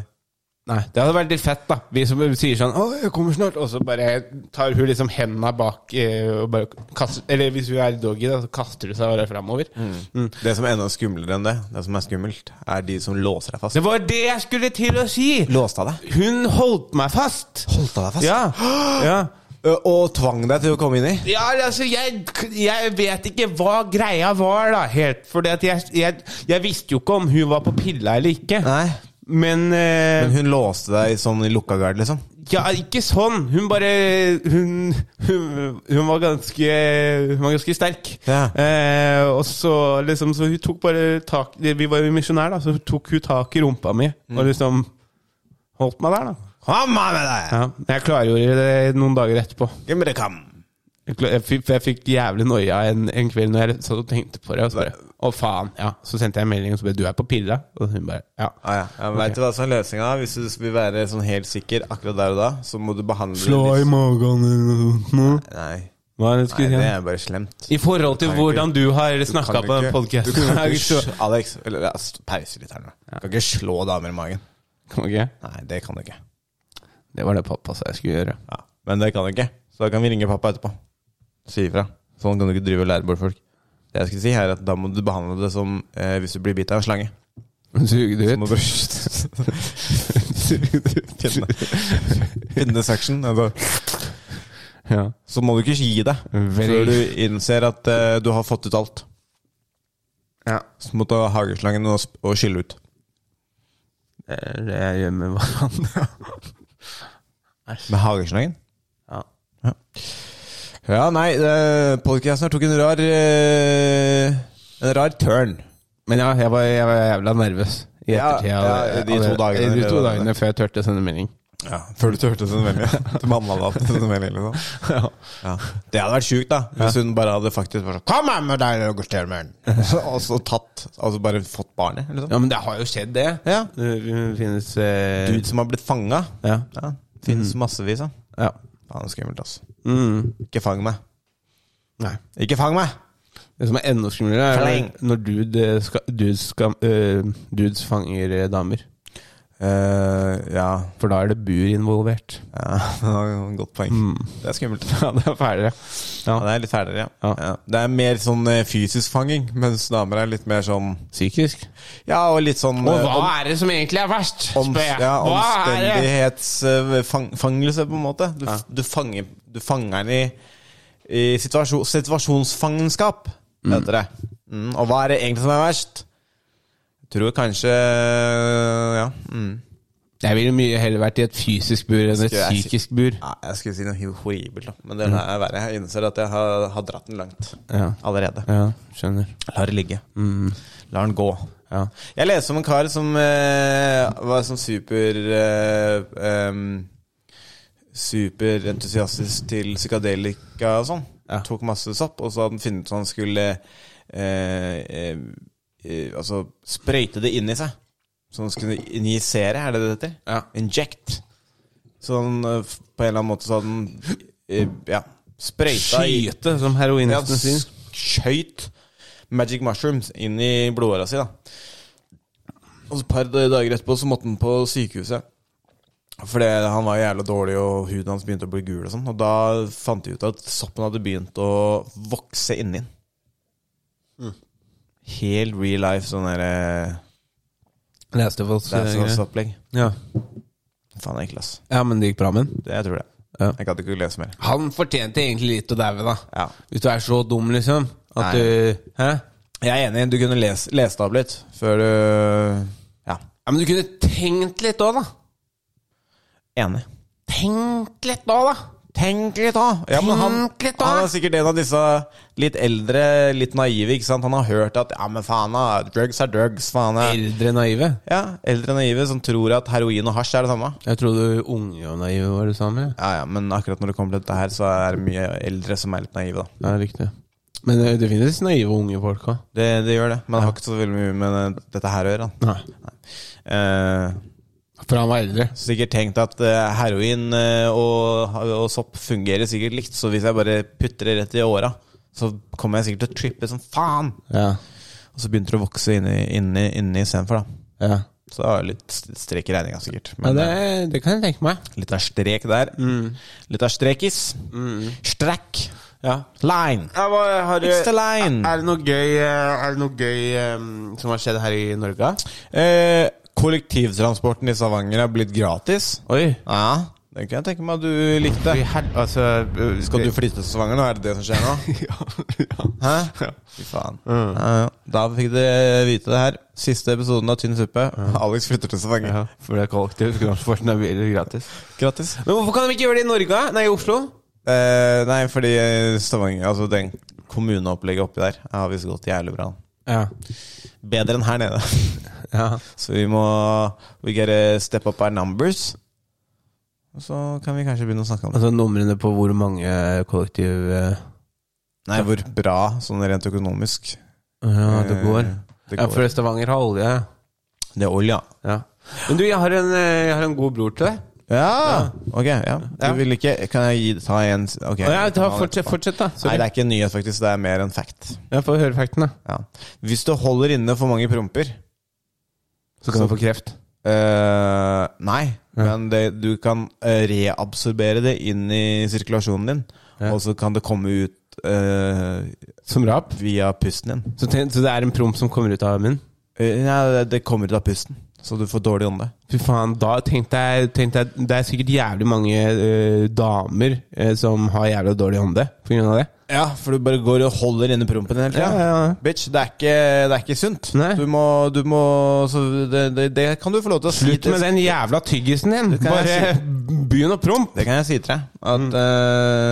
[SPEAKER 2] Nei, Det hadde vært litt fett, da. Vi som sier sånn 'Å, jeg kommer snart', og så bare tar hun liksom henda bak eh, og bare kaster Eller hvis hun er doggy, da, så kaster hun seg bare framover. Mm.
[SPEAKER 3] Det som er enda skumlere enn det, det som er skummelt, er de som låser deg fast.
[SPEAKER 2] Det var det jeg skulle til å si!
[SPEAKER 3] Låste deg?
[SPEAKER 2] Hun holdt meg fast!
[SPEAKER 3] Holdt deg fast?
[SPEAKER 2] Ja.
[SPEAKER 3] *gasps*
[SPEAKER 2] ja.
[SPEAKER 3] Ø, Og tvang deg til å komme inn i?
[SPEAKER 2] Ja, altså, jeg, jeg vet ikke hva greia var, da, helt. For jeg, jeg, jeg visste jo ikke om hun var på pilla eller ikke.
[SPEAKER 3] Nei.
[SPEAKER 2] Men, eh,
[SPEAKER 3] Men hun låste deg sånn i lukka gard, liksom?
[SPEAKER 2] Ja, ikke sånn. Hun bare Hun, hun, hun var ganske Hun var ganske sterk.
[SPEAKER 3] Ja.
[SPEAKER 2] Eh, og så liksom Så hun tok bare tak Vi var jo misjonær, da, så hun tok hun tak i rumpa mi
[SPEAKER 3] Mm.
[SPEAKER 2] og liksom holdt meg der, da.
[SPEAKER 3] Kom av med deg!
[SPEAKER 2] Ja, men Jeg klargjorde det noen dager etterpå.
[SPEAKER 3] Give me the come!
[SPEAKER 2] Jeg, klar, jeg, fikk, for jeg fikk jævlig noia en, en kveld når jeg satt og tenkte på det. Og så bare, å faen, ja Så sendte jeg en melding og så bare 'Du er på pilla?' Og hun bare 'Ja'.
[SPEAKER 3] Ah, ja. ja, men Vet du hva som er løsninga? Hvis du vil være sånn helt sikker akkurat der og da, så må du behandle litt-
[SPEAKER 2] magen eller noe sånt nå.
[SPEAKER 3] Nei,
[SPEAKER 2] Hva er det du
[SPEAKER 3] nei,
[SPEAKER 2] skulle si?
[SPEAKER 3] det
[SPEAKER 2] da?
[SPEAKER 3] er bare slemt.
[SPEAKER 2] I forhold til
[SPEAKER 3] Kan ikke-
[SPEAKER 2] hvordan du har
[SPEAKER 3] Du
[SPEAKER 2] snakka
[SPEAKER 3] kan
[SPEAKER 2] på den
[SPEAKER 3] ikke- du
[SPEAKER 2] podkasten. *laughs*
[SPEAKER 3] kan ikke sl- Alex, eller, ja, st- pause litt her nå. Du kan ikke slå damer i magen. Nei, det kan du ikke.
[SPEAKER 2] Det var det pappa sa jeg skulle gjøre.
[SPEAKER 3] Ja. Men det kan du ikke, så da kan vi ringe pappa etterpå. Si ifra. Sånn kan du ikke drive og lære bort folk. Det jeg skulle si er at Da må du behandle det som eh, hvis du blir bitt av en slange. *laughs*
[SPEAKER 2] Suge det
[SPEAKER 3] Så må
[SPEAKER 2] ut.
[SPEAKER 3] du
[SPEAKER 2] *laughs*
[SPEAKER 3] finne, finne suction. Altså.
[SPEAKER 2] Ja.
[SPEAKER 3] så må du ikke gi deg
[SPEAKER 2] Very-
[SPEAKER 3] før du innser at eh, du har fått ut alt.
[SPEAKER 2] Ja.
[SPEAKER 3] Så må du ta hageslangen og, sp- og skylle ut.
[SPEAKER 2] Det er det jeg gjør med hverandre.
[SPEAKER 3] Med hageslangen?
[SPEAKER 2] Ja.
[SPEAKER 3] Ja, ja nei, podkasten her tok en rar eh, En rar turn.
[SPEAKER 2] Men ja, jeg var, jeg var jævla nervøs i
[SPEAKER 3] Ja,
[SPEAKER 2] ettertid. av-
[SPEAKER 3] ja, i de to
[SPEAKER 2] av det-
[SPEAKER 3] dagene.
[SPEAKER 2] I de to dagene før jeg turte å sende melding.
[SPEAKER 3] Ja, Før du turte sin venn igjen. *laughs* Til mamma da. til sin venn, liksom. ja. Det hadde vært sjukt, da. Hvis hun bare hadde faktisk bare sånn, Kom her med deg, Roger Stjermen! *laughs* og så tatt Altså bare fått barnet. Liksom.
[SPEAKER 2] Ja, men det har jo skjedd, det.
[SPEAKER 3] Ja.
[SPEAKER 2] Det finnes eh,
[SPEAKER 3] Dude som har blitt fanga.
[SPEAKER 2] Ja.
[SPEAKER 3] Ja, Finnes massevis av.
[SPEAKER 2] ja.
[SPEAKER 3] Faen, det er skummelt, altså.
[SPEAKER 2] Mm.
[SPEAKER 3] Ikke fang meg.
[SPEAKER 2] Nei.
[SPEAKER 3] Ikke fang meg!
[SPEAKER 2] Det som er enda skumlere, er
[SPEAKER 3] Fleng.
[SPEAKER 2] når- når dude, eh, ska, dudes, skam- eh, dudes fanger eh, damer.
[SPEAKER 3] Eh, ja.
[SPEAKER 2] For da er det bur involvert.
[SPEAKER 3] ja. *laughs* det var et Godt poeng.
[SPEAKER 2] Mm.
[SPEAKER 3] Det er skummelt.
[SPEAKER 2] *laughs* Ja, det er fælere.
[SPEAKER 3] Ja,
[SPEAKER 2] Ja.
[SPEAKER 3] det er litt ferdigere, ja.
[SPEAKER 2] Ja.
[SPEAKER 3] ja. Det er mer sånn eh, fysisk fanging, mens damer er litt mer sånn
[SPEAKER 2] Psykisk.
[SPEAKER 3] Ja, og litt sånn eh, om-
[SPEAKER 2] er det som egentlig er verst?
[SPEAKER 3] Om, ja, omstendighetsfangelse, på en måte. Du, f- du, fanger, du fanger den i, i situasjon, situasjonsfangenskap, heter det. Mm, og hva er det egentlig som er verst? Jeg tror kanskje Ja. Mm.
[SPEAKER 2] Jeg ville mye heller vært i et fysisk bur enn et
[SPEAKER 3] Skulle jeg si-
[SPEAKER 2] psykisk bur.
[SPEAKER 3] Nei, jeg skulle si noe hi- horribelt, da. men det er verre. Jeg innser at jeg har, har dratt den langt
[SPEAKER 2] Ja.
[SPEAKER 3] allerede.
[SPEAKER 2] ja, skjønner.
[SPEAKER 3] La det ligge. La den gå.
[SPEAKER 2] Ja.
[SPEAKER 3] Jeg leste om en kar som eh, var sånn super eh, em, Superentusiastisk til psykadelika og sånn.
[SPEAKER 2] Ja.
[SPEAKER 3] Tok masse sopp, og så hadde han funnet ut at han skulle eh, eh, eh, Altså sprøyte det inn i seg. Så han skulle injisere, er det det heter?
[SPEAKER 2] Ja.
[SPEAKER 3] Inject. Så han, eh, f- på en eller annen måte så hadde han eh, ja, sprøyta i
[SPEAKER 2] Skyte, som heroinisten
[SPEAKER 3] ja,
[SPEAKER 2] sier.
[SPEAKER 3] s- skjøt Magic Mushrooms inn i blodåra si, da. Og så et par dager etterpå så måtte han på sykehuset. Fordi han var jævla dårlig, og huden hans begynte å bli gul. Og sånn Og da fant de ut at soppen hadde begynt å vokse inni den. Helt real life sånn derre
[SPEAKER 2] Leste folk
[SPEAKER 3] Det er sånn
[SPEAKER 2] greier.
[SPEAKER 3] opplegg.
[SPEAKER 2] eh, Ja.
[SPEAKER 3] Faen, jeg er klass.
[SPEAKER 2] ja, men det gikk bra med den.
[SPEAKER 3] Det, jeg tror det.
[SPEAKER 2] Ja.
[SPEAKER 3] Jeg gadd ikke å lese mer.
[SPEAKER 2] Han fortjente egentlig litt å daue, da.
[SPEAKER 3] Ja.
[SPEAKER 2] Hvis du er så dum, liksom. At
[SPEAKER 3] Nei.
[SPEAKER 2] du Hæ?
[SPEAKER 3] Jeg er enig, du kunne lese, lese det opp litt før du Ja.
[SPEAKER 2] Ja, Men du kunne tenkt litt òg, da.
[SPEAKER 3] Enig.
[SPEAKER 2] Tenkt litt òg, da.
[SPEAKER 3] Tenk litt, da! Ja, men han,
[SPEAKER 2] Tenk litt, da!
[SPEAKER 3] han er sikkert en av disse litt eldre, litt naive. ikke sant? Han har hørt at ja, men faen, da, drugs er drugs. faen. da.
[SPEAKER 2] Eldre naive.
[SPEAKER 3] Ja, Eldre naive som tror at heroin og hasj er det samme.
[SPEAKER 2] Jeg trodde unge og naive var det samme. Ja.
[SPEAKER 3] Ja, ja, Men akkurat når det kommer til dette her, så er det mye eldre som er litt naive. da.
[SPEAKER 2] Ja, riktig. Men eh, det finnes naive unge folk òg.
[SPEAKER 3] Det, det gjør det. Men det har ikke så veldig mye med det- dette her å gjøre. da. Eh,
[SPEAKER 2] For han var eldre.
[SPEAKER 3] sikkert tenkt at eh, heroin eh, og, og sopp fungerer sikkert likt, så hvis jeg bare putter det rett i åra, så kommer jeg sikkert til å trippe som faen.
[SPEAKER 2] Ja.
[SPEAKER 3] Og så begynte det å vokse inni, inni, inni istedenfor, da.
[SPEAKER 2] ja.
[SPEAKER 3] Så det var litt st- strekk i regninga, sikkert.
[SPEAKER 2] ja
[SPEAKER 3] Men
[SPEAKER 2] det, det kan jeg tenke meg.
[SPEAKER 3] eh, litt av strek der. Litt av strekis. Mm. Strekk.
[SPEAKER 2] Ja.
[SPEAKER 3] Line.
[SPEAKER 2] har,
[SPEAKER 3] It's the line.
[SPEAKER 2] det noe gøy, eh, som har skjedd her i Norge?
[SPEAKER 3] Eh, kollektivtransporten i Stavanger er blitt gratis.
[SPEAKER 2] Oi.
[SPEAKER 3] Ja, det kan jeg tenke meg at du likte.
[SPEAKER 2] Vi hel- altså, eh,
[SPEAKER 3] Skal du
[SPEAKER 2] *laughs*
[SPEAKER 3] flytte til Stavanger nå? Er det det som skjer nå? Hæ? Fy faen. Ja, ja. Da fikk dere vite det her. Siste episoden av Tynn suppe. Alex flytter til Stavanger.
[SPEAKER 2] Ja, for det er kollektivtransporten er billig gratis.
[SPEAKER 3] Gratis.
[SPEAKER 2] Men hvorfor kan de ikke gjøre det i Norge? Nei, i Oslo?
[SPEAKER 3] Eh, nei, fordi Stavanger Altså, den kommuneopplegget oppi der har visst gått jævlig bra.
[SPEAKER 2] Ja.
[SPEAKER 3] Bedre enn her *laughs* nede.
[SPEAKER 2] ja.
[SPEAKER 3] Så vi må We gotta step up our numbers. Og så kan vi kanskje begynne å snakke om det.
[SPEAKER 2] Altså numrene på hvor mange kollektiv eh,
[SPEAKER 3] Nei, hvor bra, sånn rent økonomisk.
[SPEAKER 2] ja, det går.
[SPEAKER 3] Det
[SPEAKER 2] Ja,
[SPEAKER 3] går.
[SPEAKER 2] for Stavanger har olje.
[SPEAKER 3] Det er olja.
[SPEAKER 2] Ja. Men du, jeg har en, eh, jeg har en god bror til deg.
[SPEAKER 3] Ja! Ok, ja.
[SPEAKER 2] Ja.
[SPEAKER 3] Du vil ikke Kan jeg gi, ta en Ok.
[SPEAKER 2] Ja, ta,
[SPEAKER 3] Ta
[SPEAKER 2] fortsett,
[SPEAKER 3] etterpå.
[SPEAKER 2] fortsett, da.
[SPEAKER 3] Nei,
[SPEAKER 2] Sorry.
[SPEAKER 3] det er ikke en nyhet, faktisk. Det er mer en fact.
[SPEAKER 2] Jeg får høre fakten, da.
[SPEAKER 3] Ja. Hvis du holder inne for mange promper
[SPEAKER 2] Så kan du få kreft.
[SPEAKER 3] eh, Nei, men det, du kan eh, reabsorbere det inn i sirkulasjonen din, og så kan det komme ut eh,
[SPEAKER 2] Som rap.
[SPEAKER 3] via pusten din.
[SPEAKER 2] Så, tenk, så det er en promp som kommer ut av munnen?
[SPEAKER 3] Eh, Nei, det, det kommer ut av pusten, så du får dårlig ånde.
[SPEAKER 2] Fy faen, da tenkte jeg, tenkte jeg Det er sikkert jævlig mange eh, damer eh, som har jævla dårlig ånde på grunn av det.
[SPEAKER 3] Ja, for du bare går og holder inne prompen hele tida.
[SPEAKER 2] Ja, ja, ja.
[SPEAKER 3] Bitch, det er ikke, det er ikke sunt.
[SPEAKER 2] Nei.
[SPEAKER 3] Du må, du må så det, det, det kan du få lov til å si
[SPEAKER 2] Slutt
[SPEAKER 3] til-
[SPEAKER 2] med den jævla tyggisen din!
[SPEAKER 3] kan jeg
[SPEAKER 2] Bare *laughs* begynn å prompe!
[SPEAKER 3] Det kan jeg si til deg. At,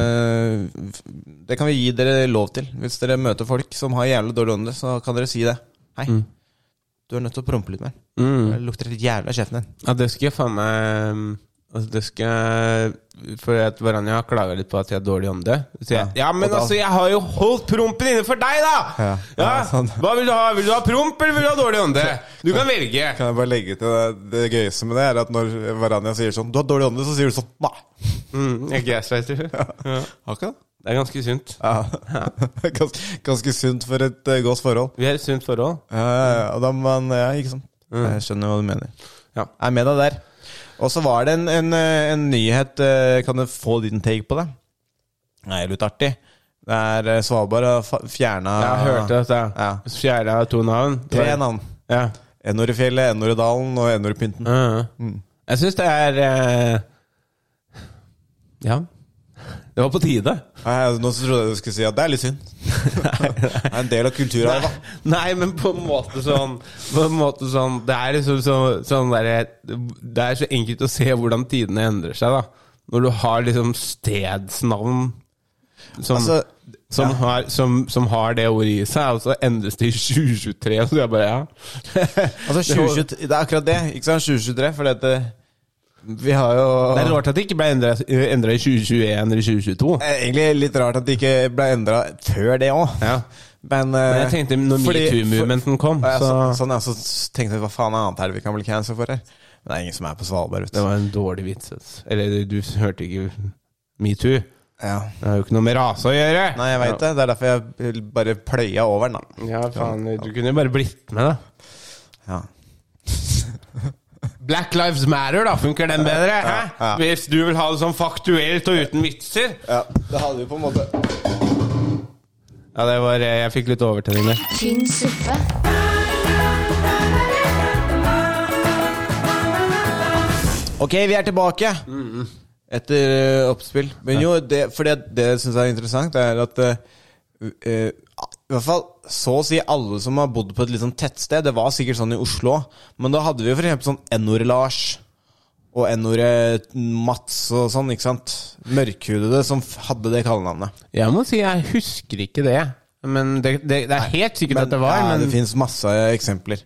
[SPEAKER 3] eh, det kan vi gi dere lov til. Hvis dere møter folk som har jævlig dårlig ånde, så kan dere si det. Hei, du er nødt til å prompe litt mer. Det lukter litt jævlig av kjeften din.
[SPEAKER 2] Ja, det skal jeg faen meg Altså, det skal jeg- For at Varanja klager litt på at jeg har dårlig ånde. Så sier jeg, ja,
[SPEAKER 3] Ja,
[SPEAKER 2] men
[SPEAKER 3] og da-
[SPEAKER 2] altså, jeg har jo holdt prompen inne for deg, da!
[SPEAKER 3] Ja, ja, sånn.
[SPEAKER 2] Hva vil du ha? Vil du ha promp, eller vil du ha dårlig ånde? Du kan velge.
[SPEAKER 3] Kan jeg bare legge til det, det gøyeste med det, er at når Varanja sier sånn 'Du har dårlig ånde', så sier du sånn 'Nei'.
[SPEAKER 2] Mm, jeg gaslighter. Ja.
[SPEAKER 3] Har ikke det?
[SPEAKER 2] Det er ganske sunt.
[SPEAKER 3] *laughs* Ja. Ganske, ganske sunt for et eh, godt forhold.
[SPEAKER 2] Vi har et sunt forhold.
[SPEAKER 3] Ja, ja, ja. Og da man, ja, ikke sant. Jeg skjønner hva du mener.
[SPEAKER 2] Mm. Ja.
[SPEAKER 3] Jeg er med deg der. Og så var det en, en, eh, en nyhet eh, Kan du få din take på det? Nei, litt artig. Det er eh, Svalbard har fjerna
[SPEAKER 2] Jeg har hørt det.
[SPEAKER 3] Ja.
[SPEAKER 2] Ja. Fjerde av to navn.
[SPEAKER 3] tre navn.
[SPEAKER 2] Ja.
[SPEAKER 3] Enor i fjellet, Enor i dalen og Enor i pynten.
[SPEAKER 2] Ja.
[SPEAKER 3] Mm.
[SPEAKER 2] Jeg syns det er eh, Ja. Det var på tide.
[SPEAKER 3] Nei, altså, nå så trodde jeg du skulle si at det er
[SPEAKER 2] *laughs*
[SPEAKER 3] litt synd. det er en del av kulturarven.
[SPEAKER 2] Nei, men på en måte sånn På en måte sånn Det er liksom så, sånn derre Det er så enkelt å se hvordan tidene endrer seg, da. Når du har liksom stedsnavn som,
[SPEAKER 3] Altså,
[SPEAKER 2] som, har, som, som har det ordet i seg, og så endres det i 2023, og så er jeg bare ja.
[SPEAKER 3] Altså, 2023, det er akkurat det. Ikke sant? 2023, for dette eh, Vi har jo
[SPEAKER 2] Det er rart at det ikke ble endra i 2021 eller 2022.
[SPEAKER 3] Det er Eh, Egentlig litt rart at det ikke ble endra før det òg.
[SPEAKER 2] Ja.
[SPEAKER 3] Men, eh,
[SPEAKER 2] Men jeg tenkte når
[SPEAKER 3] fordi-
[SPEAKER 2] metoo-movementen kom,
[SPEAKER 3] for- ja,
[SPEAKER 2] så
[SPEAKER 3] så, sånn, ja, så tenkte jeg hva faen er annet her vi kan bli cancelled for her? Men det er ingen som er på Svalbard, vet
[SPEAKER 2] Det
[SPEAKER 3] du.
[SPEAKER 2] var en dårlig vits. ass. Eller du hørte ikke metoo.
[SPEAKER 3] Ja.
[SPEAKER 2] Det har jo ikke noe med rase å gjøre!
[SPEAKER 3] Nei, jeg veit det. Det er derfor jeg bare pløya over den, da.
[SPEAKER 2] Ja, faen, du kunne jo bare blitt med, da.
[SPEAKER 3] Ja.
[SPEAKER 2] Black Lives Matter, da. Funker den bedre? Hæ?
[SPEAKER 3] ja.
[SPEAKER 2] Hvis du vil ha det sånn faktuelt og uten vitser.
[SPEAKER 3] ja. Det hadde jo på en måte
[SPEAKER 2] Ja, det var eh, Jeg fikk litt overtenning der.
[SPEAKER 1] tynn suppe,
[SPEAKER 3] Ok, vi er tilbake etter ø, oppspill. Men jo, det, for det, det jeg synes er interessant, er at ø, ø, i hvert fall så å si alle som har bodd på et litt sånn tettsted Det var sikkert sånn i Oslo, men da hadde vi jo for eksempel sånn N-ordet Lars. Og N-ordet Mats og sånn, ikke sant? Mørkhudede som f- hadde det kallenavnet.
[SPEAKER 2] Jeg må si jeg husker ikke det. Men det, det, det er helt sikkert at det var. Mm.
[SPEAKER 3] ja,
[SPEAKER 2] men
[SPEAKER 3] det fins masse eksempler.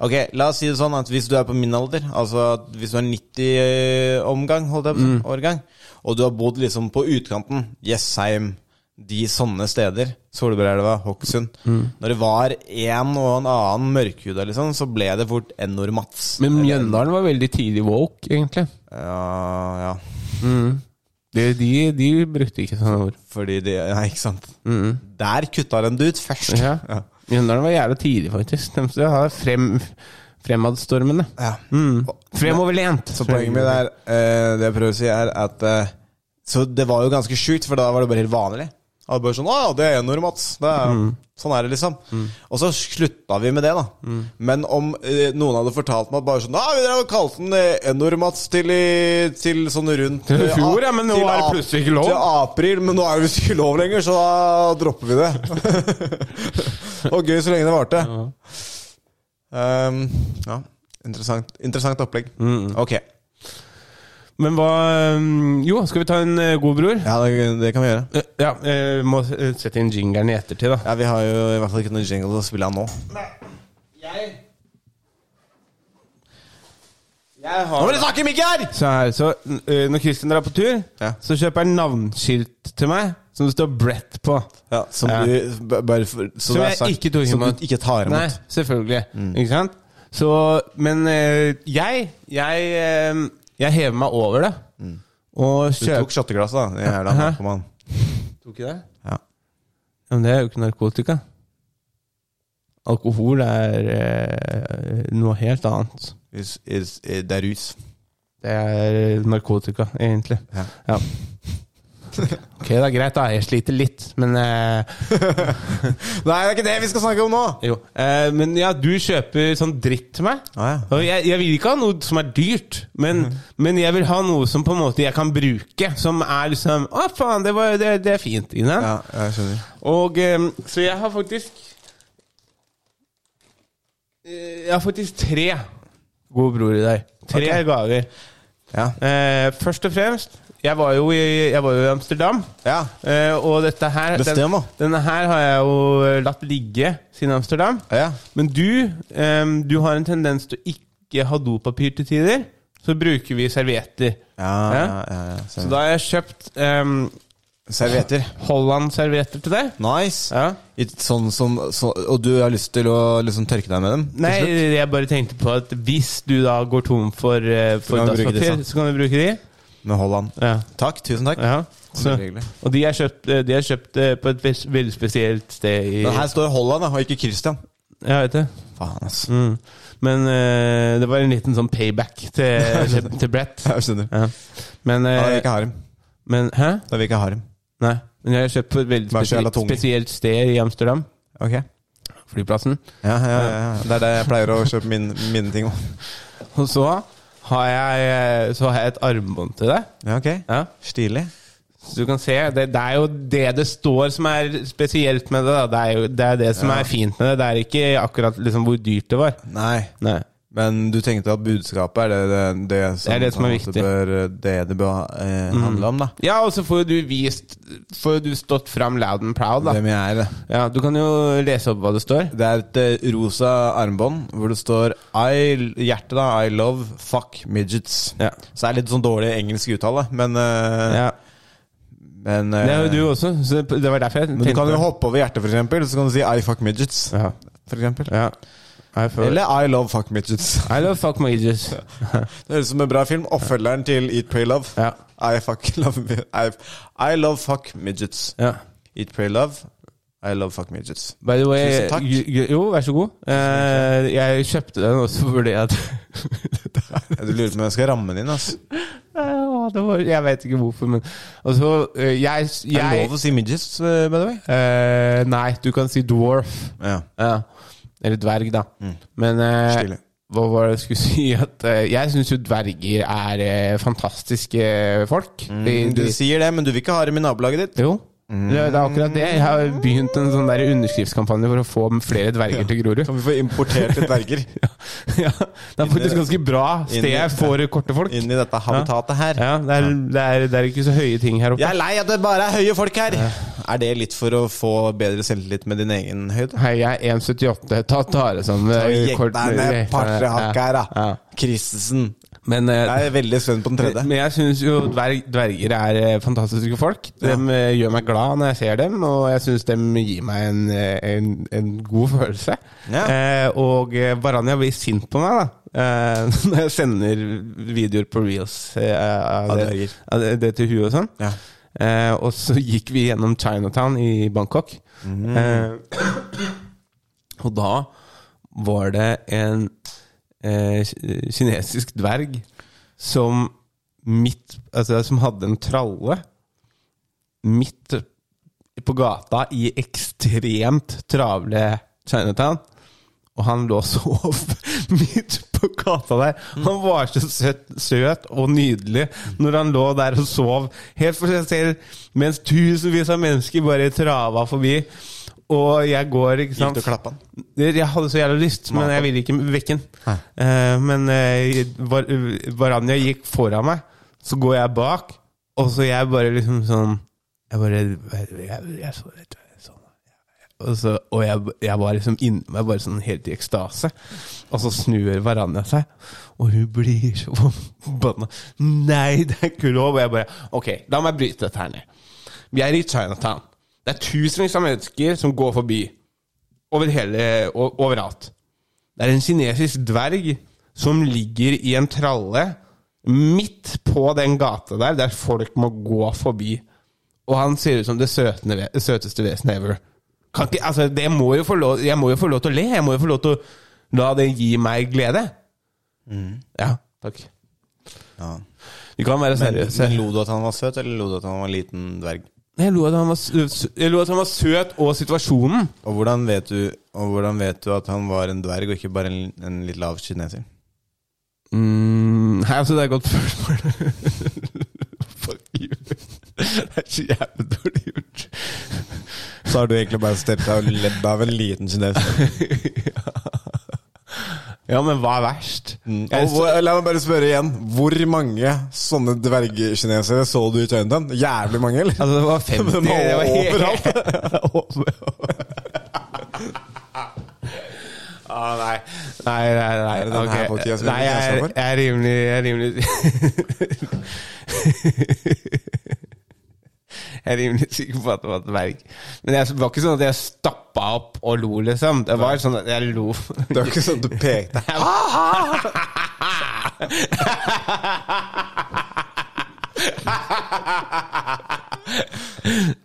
[SPEAKER 3] Ok, La oss si det sånn at hvis du er på min alder, altså at hvis du er 90-omgang, holdt jeg på å
[SPEAKER 2] Mm.
[SPEAKER 3] si, årgang, og du har bodd liksom på utkanten, Jessheim, de sånne steder, Solbergelva, Hokksund
[SPEAKER 2] Mm.
[SPEAKER 3] Når det var en og en annen mørkhuda, liksom, så ble det fort N-ord Mats.
[SPEAKER 2] men Mjøndalen var veldig tidlig woke, egentlig.
[SPEAKER 3] Ja, ja.
[SPEAKER 2] De, de, de brukte ikke sånne ord.
[SPEAKER 3] Fordi de Nei, ikke sant. Der kutta dem det ut først.
[SPEAKER 2] Mm. Ja.
[SPEAKER 3] Ja.
[SPEAKER 2] Mjøndalen var jævla tidlig, faktisk. De skal ha frem, fremadstormende.
[SPEAKER 3] Ja.
[SPEAKER 2] Mm. Fremoverlent.
[SPEAKER 3] Så poenget mitt er eh, Det jeg prøver å si, er at eh, Så det var jo ganske sjukt, for da var det bare helt vanlig. Og bare sånn, «Å, ja, det er enord, Mats. Det er,
[SPEAKER 2] Mm.
[SPEAKER 3] Sånn er det, liksom. Og så slutta vi med det, da.
[SPEAKER 2] Mm.
[SPEAKER 3] Men om eh, noen hadde fortalt meg bare sånn «Å, vi drev og kalte den eh, enord, Mats, til, i, til sånn rundt
[SPEAKER 2] Til i
[SPEAKER 3] eh,
[SPEAKER 2] fjor,
[SPEAKER 3] a-
[SPEAKER 2] ja, men nå
[SPEAKER 3] til
[SPEAKER 2] er det
[SPEAKER 3] ap-
[SPEAKER 2] plutselig ikke lov.»
[SPEAKER 3] Til april, men nå er det visst ikke lov lenger, så da dropper vi det.
[SPEAKER 2] *laughs*
[SPEAKER 3] og gøy så lenge det varte. Um, ja. Interessant, interessant opplegg.
[SPEAKER 2] Mm.
[SPEAKER 3] Ok.
[SPEAKER 2] Men hva øhm, Jo, skal vi ta en eh, god bror?
[SPEAKER 3] Ja, det, det kan vi gjøre.
[SPEAKER 2] Eh, Ja, eh, må eh, sette inn jingeren i ettertid, da.
[SPEAKER 3] Ja, Vi har jo i hvert fall ikke noen jingle å spille av nå. Nå må du snakke, Mikkel!
[SPEAKER 2] Så her, så eh, Når Kristin drar på tur,
[SPEAKER 3] Ja.
[SPEAKER 2] så kjøper han navnskilt til meg som det står Brett på.
[SPEAKER 3] Ja, som
[SPEAKER 2] Ja.
[SPEAKER 3] du b- bare for, så
[SPEAKER 2] Som
[SPEAKER 3] det er
[SPEAKER 2] jeg
[SPEAKER 3] sagt,
[SPEAKER 2] ikke tok
[SPEAKER 3] Som
[SPEAKER 2] imot.
[SPEAKER 3] du ikke tar
[SPEAKER 2] Nei,
[SPEAKER 3] imot. Mm.
[SPEAKER 2] selvfølgelig. Ikke sant? Så, men eh, jeg Jeg, eh, jeg hever meg over det. Og
[SPEAKER 3] Mm. Du tok
[SPEAKER 2] kjøper
[SPEAKER 3] shotteglasset, da. den Jævla
[SPEAKER 2] Hæ?
[SPEAKER 3] narkoman.
[SPEAKER 2] Tok ikke det?
[SPEAKER 3] Ja.
[SPEAKER 2] Ja, Men det er jo ikke narkotika. Alkohol er eh, noe helt annet.
[SPEAKER 3] Is- is- eh, Det er rus.
[SPEAKER 2] Det er narkotika, egentlig.
[SPEAKER 3] Ja.
[SPEAKER 2] *laughs* Ok, det er greit, da. Jeg sliter litt, men eh,
[SPEAKER 3] Nei, det er ikke det vi skal snakke om nå!
[SPEAKER 2] Jo. Eh, men ja, du kjøper sånn dritt til meg.
[SPEAKER 3] Ah, ja. Mhm.
[SPEAKER 2] Og jeg, jeg vil ikke ha noe som er dyrt, men, men jeg vil ha noe som på en måte jeg kan bruke. Som er liksom Å, faen, det, var, det, det er fint. Ikke sant?
[SPEAKER 3] Ja, jeg skjønner.
[SPEAKER 2] Og ehm, så jeg har faktisk eh, Jeg har faktisk tre gode bror i dag. Tre
[SPEAKER 3] Ok.
[SPEAKER 2] gaver.
[SPEAKER 3] Ja.
[SPEAKER 2] Eh, først og fremst jeg var, jo i, jeg var jo i Amsterdam,
[SPEAKER 3] ja.
[SPEAKER 2] eh, og dette her
[SPEAKER 3] Bestem, da.
[SPEAKER 2] Denne her har jeg jo eh, latt ligge siden Amsterdam.
[SPEAKER 3] Ja.
[SPEAKER 2] Men du, ehm, du har en tendens til å ikke ha dopapir til tider. så bruker vi servietter.
[SPEAKER 3] Ja, ja, ja, ja.
[SPEAKER 2] Så da har jeg kjøpt em,
[SPEAKER 3] Servietter.
[SPEAKER 2] Holland-servietter til deg.
[SPEAKER 3] Nice.
[SPEAKER 2] Ja.
[SPEAKER 3] I- Sånn som, så, og du har lyst til å liksom tørke deg med dem? til
[SPEAKER 2] Nei,
[SPEAKER 3] slutt?
[SPEAKER 2] jeg bare tenkte på at hvis du da går tom for, eh, for
[SPEAKER 3] kan du bruke de
[SPEAKER 2] dasspapir,
[SPEAKER 3] sånn.
[SPEAKER 2] så kan du bruke de.
[SPEAKER 3] Med Holland.
[SPEAKER 2] Ja.
[SPEAKER 3] Takk. Tusen takk.
[SPEAKER 2] ja. Så,
[SPEAKER 3] Veldig hyggelig.
[SPEAKER 2] og de er kjøpt, eh, de er kjøpt eh, på et ves- veldig spesielt sted i
[SPEAKER 3] Men her står Holland, da, og ikke Christian.
[SPEAKER 2] Jeg vet det.
[SPEAKER 3] Faen, ass.
[SPEAKER 2] Mm. Men eh, det var en liten sånn payback til,
[SPEAKER 3] *laughs*
[SPEAKER 2] til, til Brett.
[SPEAKER 3] Jeg skjønner.
[SPEAKER 2] Ja. Men,
[SPEAKER 3] Da vil
[SPEAKER 2] eh,
[SPEAKER 3] vi ikke ha dem.
[SPEAKER 2] men Hæ?
[SPEAKER 3] Da vil vi ikke ha dem.
[SPEAKER 2] Nei. Men jeg har kjøpt på et veldig
[SPEAKER 3] Vær så jævla
[SPEAKER 2] spesielt,
[SPEAKER 3] tung.
[SPEAKER 2] spesielt sted i Amsterdam.
[SPEAKER 3] Ok.
[SPEAKER 2] Flyplassen.
[SPEAKER 3] Ja, ja, ja, ja. Det er det jeg pleier å kjøpe min, mine ting om.
[SPEAKER 2] Og så har jeg, eh, så har jeg et armbånd til deg.
[SPEAKER 3] Ja, ok.
[SPEAKER 2] Ja.
[SPEAKER 3] Stilig.
[SPEAKER 2] Så du kan se, det, det er jo det det står som er spesielt med det. Da. Det er jo det, er det som er fint med det. Det er ikke akkurat liksom, hvor dyrt det var.
[SPEAKER 3] Nei.
[SPEAKER 2] Nei.
[SPEAKER 3] Men du tenkte at budskapet er det, det, det, som,
[SPEAKER 2] Det er det som er
[SPEAKER 3] på en måte
[SPEAKER 2] viktig.
[SPEAKER 3] Bør, det det bør eh, handle om, da.
[SPEAKER 2] Ja, og så får jo du vist Får jo du stått fram loud and proud, da.
[SPEAKER 3] Hvem jeg er.
[SPEAKER 2] Ja, du kan jo lese opp hva det står.
[SPEAKER 3] Det er et eh, rosa armbånd hvor det står I, hjertet da, I love fuck midgets.
[SPEAKER 2] Ja.
[SPEAKER 3] Så det er litt sånn dårlig engelsk uttale, men, eh,
[SPEAKER 2] Ja.
[SPEAKER 3] men eh,
[SPEAKER 2] Det er jo du også, så det var derfor jeg tenkte
[SPEAKER 3] Men du kan jo
[SPEAKER 2] på det.
[SPEAKER 3] hoppe over hjertet, for eksempel, så kan du si I fuck midgets.
[SPEAKER 2] ja.
[SPEAKER 3] For eksempel.
[SPEAKER 2] ja. I feel-
[SPEAKER 3] Eller I love fuck midgets.
[SPEAKER 2] I love fuck mages.
[SPEAKER 3] Det høres ut som en bra film. Oppfølgeren til Eat Pray Love.
[SPEAKER 2] Ja.
[SPEAKER 3] I fuck *laughs* love mi- I, I love fuck midgets.
[SPEAKER 2] ja.
[SPEAKER 3] Eat Pray Love. I love fuck midgets.
[SPEAKER 2] By the way
[SPEAKER 3] Tusen takk.
[SPEAKER 2] jo- Jo, vær så god. Eh, jeg kjøpte den også fordi at *laughs*
[SPEAKER 3] Ja, Du lurer på om jeg skal ramme den inn, ass.
[SPEAKER 2] Ja, det var, Jeg vet ikke hvorfor, men Altså, eh, jeg, jeg
[SPEAKER 3] Er det lov å si midgets, eh, by the way?
[SPEAKER 2] Eh, nei, du kan si dwarf.
[SPEAKER 3] Ja. Mm.
[SPEAKER 2] Ja. Eller dverg, da. Men eh,
[SPEAKER 3] Stilig.
[SPEAKER 2] hva var det jeg skulle *laughs* si? At, eh, jeg syns jo dverger er eh, fantastiske folk. De,
[SPEAKER 3] Du
[SPEAKER 2] de,
[SPEAKER 3] sier Mm, det, Mm. men du vil ikke ha dem i nabolaget ditt?
[SPEAKER 2] jo. Det er det er akkurat det. Jeg har begynt en sånn der underskriftskampanje for å få flere dverger til Grorud.
[SPEAKER 3] Kan vi få importert litt
[SPEAKER 2] *laughs*
[SPEAKER 3] verger
[SPEAKER 2] ja, det er faktisk ganske bra sted for korte folk.
[SPEAKER 3] inn i dette habitatet her?
[SPEAKER 2] Ja, det er, det, er, det er ikke så høye ting her oppe.
[SPEAKER 3] Jeg er lei at det bare er høye folk her! Er det litt for å få bedre selvtillit med din egen høyde?
[SPEAKER 2] Hei, jeg er 1,78. Ta tare som eh,
[SPEAKER 3] Jekk
[SPEAKER 2] kort-
[SPEAKER 3] deg ned, parre hakk her, da!
[SPEAKER 2] Ja.
[SPEAKER 3] Christensen.
[SPEAKER 2] Men eh,
[SPEAKER 3] Jeg er veldig spent på den tredje.
[SPEAKER 2] Men jeg syns jo dverg, dverger er eh, fantastiske folk. De eh, gjør meg glad når jeg ser dem, og jeg syns de gir meg en, eh, en, en god følelse.
[SPEAKER 3] Ja.
[SPEAKER 2] Eh, og eh, Varanja blir sint på meg da eh, *laughs* når jeg sender videoer på reels eh, av,
[SPEAKER 3] Av
[SPEAKER 2] det,
[SPEAKER 3] dverger.
[SPEAKER 2] av det, det til huet og sånn.
[SPEAKER 3] Ja.
[SPEAKER 2] Eh, og så *laughs* gikk vi gjennom Chinatown i Bangkok. Eh, og da var det en eh, ki- kinesisk dverg som midt Altså som hadde en tralle midt på gata i ekstremt travle Chinatown. Og han lå og sov *laughs* midt på gata der. Han var så søt, søt og nydelig når han lå der og sov helt for seg selv, mens tusenvis av mennesker bare trava forbi. Og jeg går, ikke
[SPEAKER 3] Gikk
[SPEAKER 2] sant
[SPEAKER 3] du og klappa den?
[SPEAKER 2] Jeg hadde så jævla lyst, men jeg ville ikke vekke den. Eh, men eh, Var- Varanja gikk foran meg, så går jeg bak, og så jeg bare liksom sånn Jeg bare Jeg, jeg, jeg så rett sånn og, så, og jeg, jeg var liksom inni meg bare sånn helt i ekstase. Og så snur Varanja seg, og hun blir så forbanna. Nei, det er ikke lov! Og jeg bare Ok, la meg bryte dette her ned. Vi er i Chinatown. Det er tusenvis av mennesker som går forbi. Over hele o- Overalt. Det er en kinesisk dverg som ligger i en tralle midt på den gata der, der folk må gå forbi. Og han ser ut som det søtne, ve- søteste vesenet ever. Kan ikke, altså, det må jo få lov, jeg må jo få lov til å le. Jeg må jo få lov til å la det gi meg glede. Ja, takk.
[SPEAKER 3] Ja.
[SPEAKER 2] Mm. Vi kan være
[SPEAKER 3] Men,
[SPEAKER 2] seriøse.
[SPEAKER 3] men lo du at han var søt, eller lo du at han var en liten dverg?
[SPEAKER 2] Jeg lo at han var, sø- sø- jeg lo at han var søt, og situasjonen.
[SPEAKER 3] Og hvordan vet du, og hvordan vet du at han var en dverg, og ikke bare en, en litt lav *laughs* kineser?
[SPEAKER 2] Mm, nei, altså, det er et godt spørsmål. *laughs* Fuck you. Det er så jævlig dårlig gjort.
[SPEAKER 3] Så har du egentlig bare steppet deg og ledd av en liten *laughs* kineser.
[SPEAKER 2] Ja, men hva er verst? Jeg
[SPEAKER 3] Og hvor, la meg bare spørre igjen. Hvor mange sånne dvergkinesere så du i Tøyentann? Jævlig mange, eller?
[SPEAKER 2] Altså, *laughs* det var 50
[SPEAKER 3] Men *laughs* det var overalt.
[SPEAKER 2] Ah, nei. Nei, nei, nei.
[SPEAKER 3] Er det den
[SPEAKER 2] ok.
[SPEAKER 3] her Mathias vil
[SPEAKER 2] Nei,
[SPEAKER 3] ikke
[SPEAKER 2] jeg er,
[SPEAKER 3] jeg stå for.
[SPEAKER 2] jeg er rimelig, jeg er rimelig *laughs* Jeg er rimelig sikker på at det var et verk. Men jeg, det var ikke sånn at jeg stappa opp og lo, liksom. Det var sånn at jeg lo.
[SPEAKER 3] *laughs* Det *laughs* var ikke sånn at du pekte.
[SPEAKER 2] *laughs*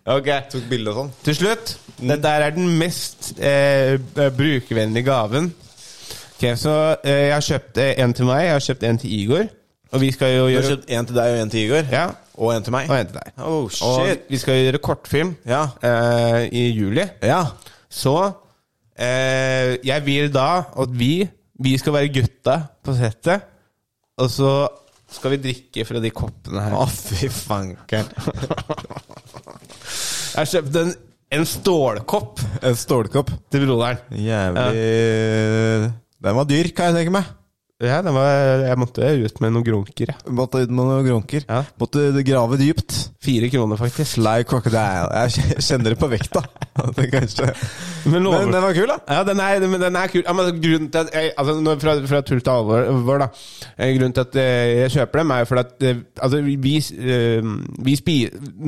[SPEAKER 2] Ok,
[SPEAKER 3] Tok bilde og sånn.
[SPEAKER 2] til slutt. Dette her er den mest eh, brukervennlige gaven. Ok, Så eh, jeg har kjøpt eh, en til meg, jeg har kjøpt en til Igor. Og vi skal jo
[SPEAKER 3] Du har
[SPEAKER 2] gjøre
[SPEAKER 3] kjøpt en til deg og en til Igor?
[SPEAKER 2] Ja,
[SPEAKER 3] Og en til meg?
[SPEAKER 2] og en til deg.
[SPEAKER 3] Oh, shit.
[SPEAKER 2] og vi skal gjøre kortfilm
[SPEAKER 3] Ja.
[SPEAKER 2] eh, i juli.
[SPEAKER 3] Ja.
[SPEAKER 2] Så eh, jeg vil da at vi, vi skal være gutta på settet, og så skal vi drikke fra de koppene her.
[SPEAKER 3] Å, fy fanken.
[SPEAKER 2] Jeg har kjøpt en, en stålkopp
[SPEAKER 3] En stålkopp.
[SPEAKER 2] til broderen.
[SPEAKER 3] Jævlig Den var dyr, kan jeg tenke meg.
[SPEAKER 2] Ja, den var, jeg måtte ut med noen grunker. jeg.
[SPEAKER 3] Måtte ut med noen grunker.
[SPEAKER 2] Ja.
[SPEAKER 3] Måtte grave dypt.
[SPEAKER 2] Fire kroner, faktisk.
[SPEAKER 3] Fly crocodile. Jeg kjenner det på *laughs* vekta. Det kanskje.
[SPEAKER 2] Men lover-
[SPEAKER 3] Men den var kul, da.
[SPEAKER 2] Ja, den er, men den er kul. Ja, men grunnen til at jeg, altså, nå fra, fra tull til alvor, alvor, da. Eh, Grunnen til at eh, jeg kjøper dem, er jo fordi at eh, altså, vi, eh, vi spi,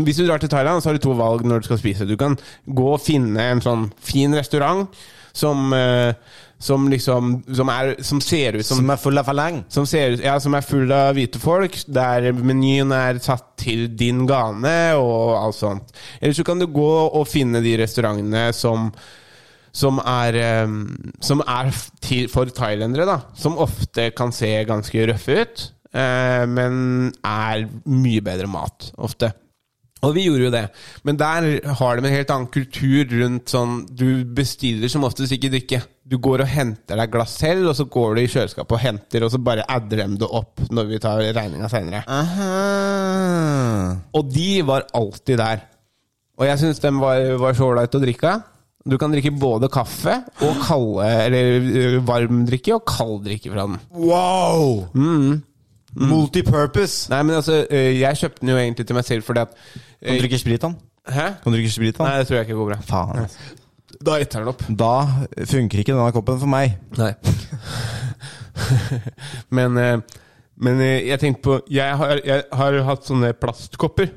[SPEAKER 2] Hvis du drar til Thailand, så har du to valg når du skal spise. Du kan gå og finne en sånn fin restaurant som, eh, som liksom som, er, som ser ut som
[SPEAKER 3] Som er full av falang.
[SPEAKER 2] som, ser, ut- ja, som er full av hvite folk, der menyen er satt til din gane og alt sånt. Eller så kan du gå og finne de restaurantene som som er, eh, som er f- til, for thailendere, da. Som ofte kan se ganske røffe ut, eh, men er mye bedre mat, ofte. Og vi gjorde jo det. Men der har de en helt annen kultur rundt sånn Du bestiller som oftest ikke drikke. Du går og henter deg glass selv, og så går du i kjøleskapet og henter, og så bare adder dem det opp når vi tar regninga seinere.
[SPEAKER 3] Aha.
[SPEAKER 2] Og de var alltid der. Og jeg syns de var, var så ålreit å drikke av. Du kan drikke både kaffe og kalde, eller ø, varm drikke og kald drikke fra den.
[SPEAKER 3] Wow! Mm. Multipurpose.
[SPEAKER 2] Nei, men altså, ø, jeg kjøpte den jo egentlig til meg selv fordi at ø,
[SPEAKER 3] Kan du drikke sprit, han?
[SPEAKER 2] Hæ?
[SPEAKER 3] Kan du drikke sprit,
[SPEAKER 2] Nei,
[SPEAKER 3] han?
[SPEAKER 2] det tror jeg ikke går bra.
[SPEAKER 3] Faen. ass.
[SPEAKER 2] Da etter den opp.
[SPEAKER 3] Da funker ikke denne koppen for meg.
[SPEAKER 2] Nei. *laughs* men, eh, men eh, jeg tenkte på Jeg har, jeg har jo hatt sånne plastkopper.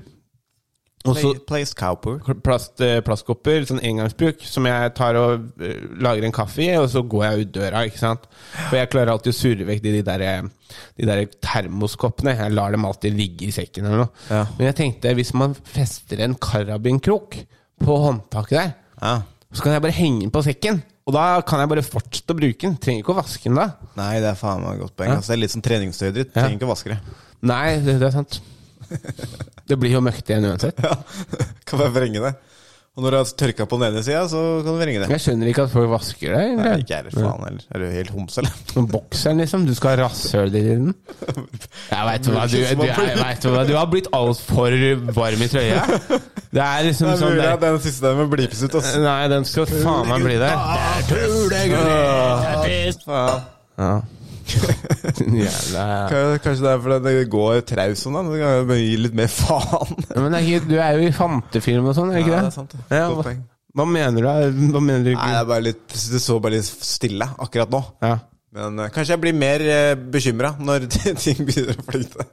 [SPEAKER 2] Og så
[SPEAKER 3] Place Cowper.
[SPEAKER 2] plast, eh, plastkopper, sånn engangsbruk, som jeg tar og eh, lager en kaffe i, og så går jeg ut døra, ikke sant. For jeg klarer alltid å surre vekk de, de, der, eh, de der termoskoppene. Jeg lar dem alltid ligge i sekken eller noe.
[SPEAKER 3] Ja.
[SPEAKER 2] Men jeg tenkte, hvis man fester en karabinkrok på håndtaket der,
[SPEAKER 3] Ja.
[SPEAKER 2] så kan jeg bare henge den på sekken. Og da kan jeg bare fortsette å bruke den. Trenger ikke å vaske den da.
[SPEAKER 3] Nei, det er faen meg et godt poeng. ass. Det er litt som treningstøyet ditt.
[SPEAKER 2] Ja.
[SPEAKER 3] Trenger ikke å vaske det.
[SPEAKER 2] Nei, det, det er sant. Det blir jo møkkete igjen uansett.
[SPEAKER 3] Ja, kan bare vrenge det. Og når du har tørka på den ene sida, så kan du vrenge det.
[SPEAKER 2] Jeg skjønner ikke at folk vasker det.
[SPEAKER 3] Nei,
[SPEAKER 2] egentlig.
[SPEAKER 3] ikke jeg heller. Faen heller. Er du helt homse,
[SPEAKER 2] *laughs*
[SPEAKER 3] eller?
[SPEAKER 2] Som bokseren, liksom. Du skal ha rasshøl i den. Jeg veit hva du, du, jeg vet hva du har blitt altfor varm i trøya. Det er liksom sånn
[SPEAKER 3] mulig at
[SPEAKER 2] der.
[SPEAKER 3] den siste der må blipes ut, ass.
[SPEAKER 2] Nei, den skal faen meg bli der. *laughs*
[SPEAKER 3] Faen.
[SPEAKER 2] Ja. Din Jævla
[SPEAKER 3] Kan- Kanskje det er fordi det går traus om den? Det kan jo bare gi litt mer faen.
[SPEAKER 2] Ja, Men det er ikke, du er jo i fantefilm og sånn, er du ikke
[SPEAKER 3] Ja,
[SPEAKER 2] det?
[SPEAKER 3] det er sant, det.
[SPEAKER 2] Ja,
[SPEAKER 3] Godt
[SPEAKER 2] hva,
[SPEAKER 3] poeng.
[SPEAKER 2] hva mener du? Hva mener du?
[SPEAKER 3] Nei, det, er bare litt, det så bare litt stille akkurat nå.
[SPEAKER 2] Ja.
[SPEAKER 3] Men eh, kanskje jeg blir mer uh, bekymra når *laughs* ting begynner å flyte.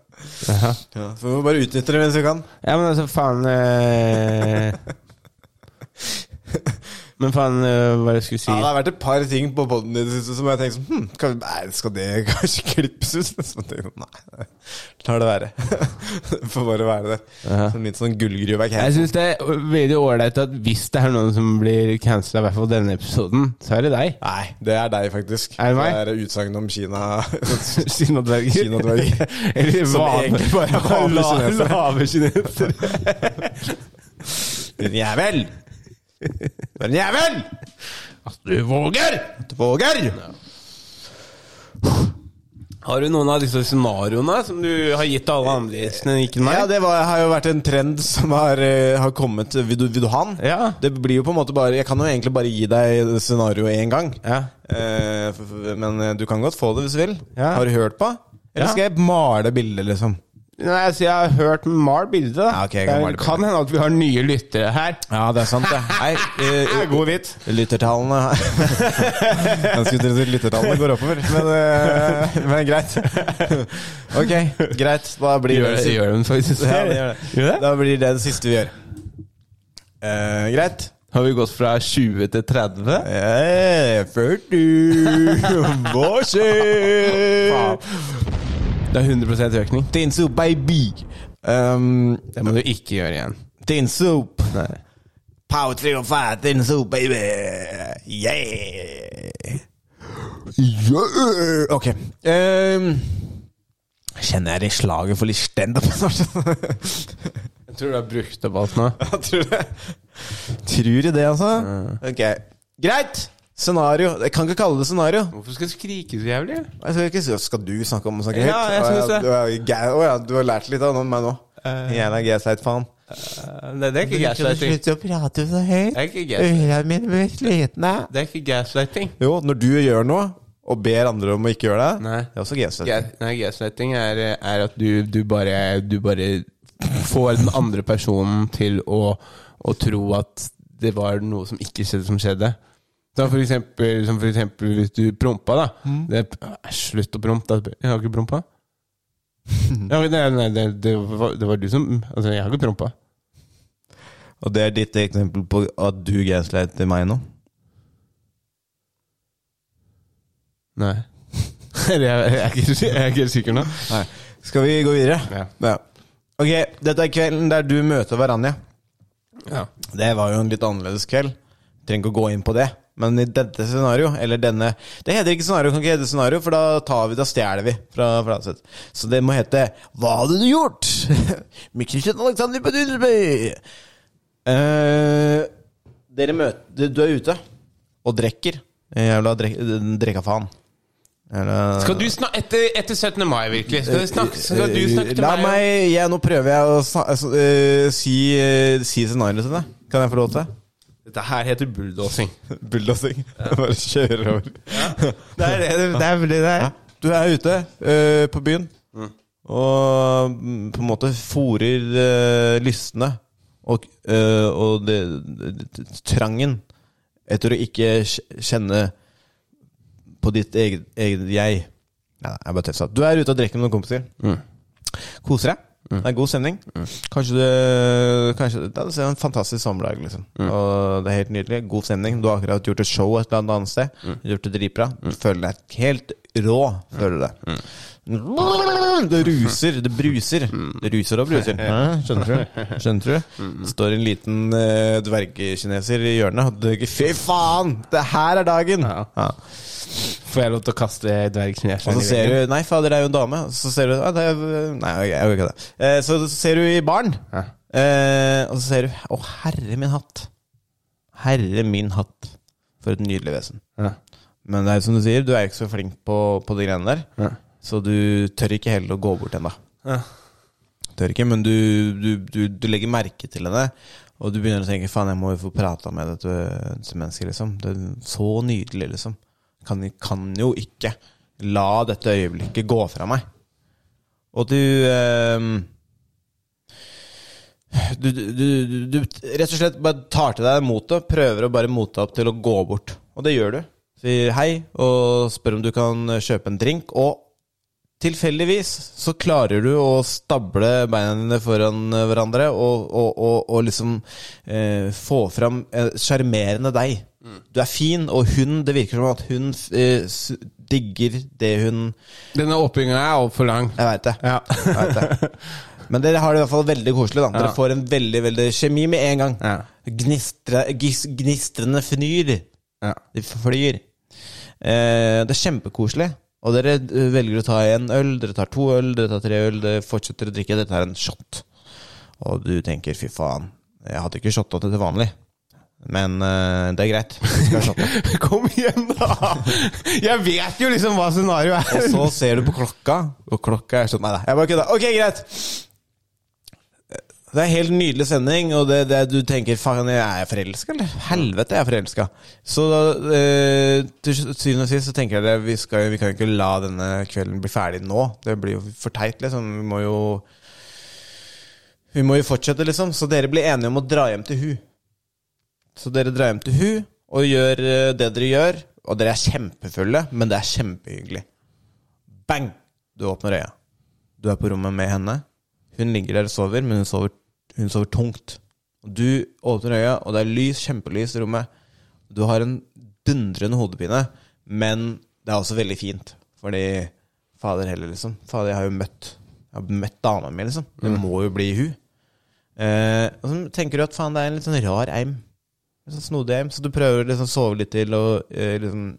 [SPEAKER 2] Jaha.
[SPEAKER 3] Ja, så vi må bare utnytte det mens vi kan.
[SPEAKER 2] Ja, men altså, faen eh... Men faen, eh, hva er det jeg skulle si?
[SPEAKER 3] Ja, det har vært et par ting på podden i det siste som jeg har tenkt sånn hm, kan, Nei, skal det *laughs* kanskje klippes ut? Så jeg tenkte, nei, lar det være. *laughs* det får bare være der. Som litt sånn gullgruveverk
[SPEAKER 2] Jeg
[SPEAKER 3] her.
[SPEAKER 2] syns det er veldig ålreit at hvis det er noen som blir cancela, i hvert fall denne episoden, så er det deg.
[SPEAKER 3] Nei, det er deg, faktisk.
[SPEAKER 2] Er det meg?
[SPEAKER 3] Det er utsagn om Kina.
[SPEAKER 2] *laughs* Kinadverger.
[SPEAKER 3] Kinadverger.
[SPEAKER 2] *laughs* Eller
[SPEAKER 3] Som egentlig bare er lave
[SPEAKER 2] *laughs* La-
[SPEAKER 3] kinesere.
[SPEAKER 2] lave kinesere.
[SPEAKER 3] *laughs* Din jævel! Din jævel!
[SPEAKER 2] Du våger!
[SPEAKER 3] Du våger!
[SPEAKER 2] Har du noen av disse scenarioene som du har gitt til alle andre gjestene, ikke meg?
[SPEAKER 3] Ja, det var, har jo vært en trend som har, eh, har kommet. Vil du, vil du ha den?
[SPEAKER 2] Ja.
[SPEAKER 3] Det blir jo på en måte bare Jeg kan jo egentlig bare gi deg scenarioet én gang.
[SPEAKER 2] Ja.
[SPEAKER 3] Eh, f- f- men eh, du kan godt få det hvis du vil.
[SPEAKER 2] Ja.
[SPEAKER 3] Har du hørt på? Eller
[SPEAKER 2] Ja.
[SPEAKER 3] skal jeg male bildet, liksom?
[SPEAKER 2] Nei, så jeg har hørt den mal bildet. da.
[SPEAKER 3] Ja, ok, jeg
[SPEAKER 2] det
[SPEAKER 3] kan
[SPEAKER 2] er-
[SPEAKER 3] male bildet.
[SPEAKER 2] kan hende at vi har nye lyttere her.
[SPEAKER 3] Ja, det er sant, det. *laughs* Nei, eh,
[SPEAKER 2] *laughs* Det er god vits.
[SPEAKER 3] Lyttertallene
[SPEAKER 2] *laughs*
[SPEAKER 3] Jeg skulle tro at lyttertallene går oppover, men, eh, *laughs* men
[SPEAKER 2] *laughs*
[SPEAKER 3] greit. Ok, greit. Da blir
[SPEAKER 2] Gjør,
[SPEAKER 3] det siste-
[SPEAKER 2] gjør den faktisk
[SPEAKER 3] Ja, det gjør
[SPEAKER 2] *laughs* Gjør
[SPEAKER 3] det. Da blir det det siste vi gjør. Eh, greit.
[SPEAKER 2] Har vi gått fra 20 til 30?
[SPEAKER 3] Eh, 40 Hva skjer?
[SPEAKER 2] Det er 100 økning.
[SPEAKER 3] Tinsu, baby. Um,
[SPEAKER 2] Det må du ikke gjøre igjen.
[SPEAKER 3] Tinsu. Power 305, Tinsu, baby. Yeah. Yeah. Ok. Um, kjenner jeg det i slaget for litt standup *laughs* snart.
[SPEAKER 2] Jeg tror du har brukt opp alt nå.
[SPEAKER 3] Jeg tror det. Tror du det, altså? Ok. Greit! Scenario. Jeg kan ikke kalle det scenario.
[SPEAKER 2] Hvorfor skal jeg skrike så jævlig?
[SPEAKER 3] Jeg skal, ikke, skal du snakke om å snakke
[SPEAKER 2] Ja, jeg synes det.
[SPEAKER 3] Å ja, du er gæ- å ja, du har lært litt av noen meg nå.
[SPEAKER 2] Eh.
[SPEAKER 3] Jævla gaslight-faen.
[SPEAKER 2] Nei, det er ikke gaslighting.
[SPEAKER 8] å prate så høyt.
[SPEAKER 2] Det er ikke gaslighting.
[SPEAKER 8] mine blir slitne.
[SPEAKER 2] Det er ikke gaslighting.
[SPEAKER 3] Jo, når du gjør noe og ber andre om å ikke gjøre det,
[SPEAKER 2] Nei.
[SPEAKER 3] det er også gaslight.
[SPEAKER 2] Ga- Nei, gaslighting er, er at du, du, bare, du bare får den andre personen til å, å tro at det var noe som ikke skjedde, som skjedde. Da for eksempel, som for eksempel hvis du prompa, da. Det er, «Æ, slutt å prompe. da.» Jeg har ikke prompa. Ja, men nei, nei, det, det, var, det var du som Altså, jeg har ikke prompa.
[SPEAKER 3] Og det er ditt eksempel på at du gaslighter meg nå?
[SPEAKER 2] Nei. *laughs* Eller jeg, jeg, er ikke, si- jeg er ikke helt sikker nå.
[SPEAKER 3] Nei. Skal vi gå videre?
[SPEAKER 2] Ja.
[SPEAKER 3] Ok, dette er kvelden der du møter Varanja.
[SPEAKER 2] Ja.
[SPEAKER 3] Det var jo en litt annerledes kveld. Trenger ikke å gå inn på det. Men i dette scenario, eller denne Det heter ikke scenario, kan ikke hete scenario, for da tar vi, da stjeler vi fra Fladseth. Så det må hete Hva hadde du gjort? *laughs* Mikkelsen Alexander på Dunderby. Eh, dere møter Du er ute og drikker. Jævla drek, drekka faen. Jævla-
[SPEAKER 2] Skal du snakke etter, etter 17. mai, virkelig? Skal du snakke, skal du snakke til
[SPEAKER 3] eh, La
[SPEAKER 2] meg? om-
[SPEAKER 3] meg ja, Nå prøver jeg å sna- altså, eh, si, eh, si scenarioet til deg. Kan jeg få lov til det?
[SPEAKER 2] Dette her heter bulldosing.
[SPEAKER 3] Bulldosing. Bare kjører over.
[SPEAKER 2] Det er det det er vel det det er. Mm.
[SPEAKER 3] Du er ute ø, på byen og mm, på en måte fòrer ø, lystne og, ø, og det, det, trangen etter å ikke kj- kjenne på ditt eget, eget jeg. Nei, jeg bare tøfsa. Du er ute og drikker med noen kompiser. Koser deg.
[SPEAKER 2] Mm.
[SPEAKER 3] Det er god stemning. Kanskje du kanskje, Det er en fantastisk sommerdag. liksom
[SPEAKER 2] Mm.
[SPEAKER 3] Og Det er helt nydelig. God stemning. Du har akkurat gjort et show et eller annet sted.
[SPEAKER 2] Mm.
[SPEAKER 3] Gjort det dritbra. Du føler deg helt rå. Føler du det.
[SPEAKER 2] Mm.
[SPEAKER 3] Mm. Det ruser. Det bruser.
[SPEAKER 2] Mm.
[SPEAKER 3] Det ruser og bruser. Skjønner du? Skjønner du? Det står en liten eh, dvergkineser i hjørnet og drikker Fy faen! Det her er dagen!
[SPEAKER 2] Ja.
[SPEAKER 3] Ja.
[SPEAKER 2] *laughs* Får jeg lov til å kaste dvergkineseren
[SPEAKER 3] Og så ser du Nei, fader, det er jo en dame. Så ser du «Ah, det er, Nei, jeg gjør ikke det. Eh, Så ser du i baren,
[SPEAKER 2] Ja.
[SPEAKER 3] eh, og så ser du Å, herre min hatt. Herre min hatt. For et nydelig vesen.
[SPEAKER 2] Ja.
[SPEAKER 3] Men det er jo som du sier, du er jo ikke så flink på, på de greiene der.
[SPEAKER 2] Ja.
[SPEAKER 3] Så du tør ikke heller å gå bort ennå.
[SPEAKER 2] Ja.
[SPEAKER 3] Tør ikke, men du, du, du, du legger merke til henne. Og du begynner å tenke faen, jeg må jo få prata med dette, dette mennesket, liksom. Det er så nydelig, liksom. Kan, kan jo ikke la dette øyeblikket gå fra meg. Og du ehm, du, du, du, du rett og slett bare tar til deg motet, prøver å bare mote opp til å gå bort. Og det gjør du. Sier hei og spør om du kan kjøpe en drink. Og tilfeldigvis så klarer du å stable beina dine foran hverandre og, og, og, og liksom eh, få fram eh, sjarmerende deg. Du er fin, og hun, det virker som at hun eh, s- digger det hun
[SPEAKER 2] Denne åpninga er altfor lang.
[SPEAKER 3] jeg veit det. Jeg vet det. Men dere har det i hvert fall veldig koselig. da Dere
[SPEAKER 2] Ja.
[SPEAKER 3] får en veldig veldig kjemi med en gang.
[SPEAKER 2] Ja.
[SPEAKER 3] Gnistre, gis, gnistrende fnyr.
[SPEAKER 2] Ja.
[SPEAKER 3] De flyr. Eh, det er kjempekoselig. Og dere eh, velger å ta en øl, dere tar to øl, dere tar tre øl, dere fortsetter å drikke, dere tar en shot. Og du tenker 'fy faen, jeg hadde ikke shotta til vanlig', men eh, det er greit. Vi skal shotte.
[SPEAKER 2] Kom igjen, da! Jeg vet jo liksom hva scenarioet
[SPEAKER 3] Og
[SPEAKER 2] er.
[SPEAKER 3] så ser du på klokka, og klokka er sånn Nei da, jeg bare kødda. Ok, greit. Det er helt nydelig sending, og det, det du tenker Faen, jeg er forelska, eller? Helvete, jeg er forelska. Så da, eh, til syvende og sist så tenker jeg det, vi, skal, vi kan jo ikke la denne kvelden bli ferdig nå. Det blir jo for teit, liksom. Vi må jo Hun må jo fortsette, liksom. Så dere blir enige om å dra hjem til hun. Så dere drar hjem til hun og gjør eh, det dere gjør. Og dere er kjempefulle, men det er kjempehyggelig. Bang! Du åpner øya. Du er på rommet med henne. Hun ligger der og sover, men hun sover, hun sover tungt. Og Du åpner øya, og det er lys, kjempelys i rommet. Du har en dundrende hodepine, men det er også veldig fint. Fordi fader heller, liksom. Fader, jeg har jo møtt Jeg har møtt dama mi, liksom. Det må jo bli hun. Eh, og så tenker du at faen, det er en litt sånn rar eim. Litt sånn snodig eim. Så du prøver å liksom sove litt til og eh, liksom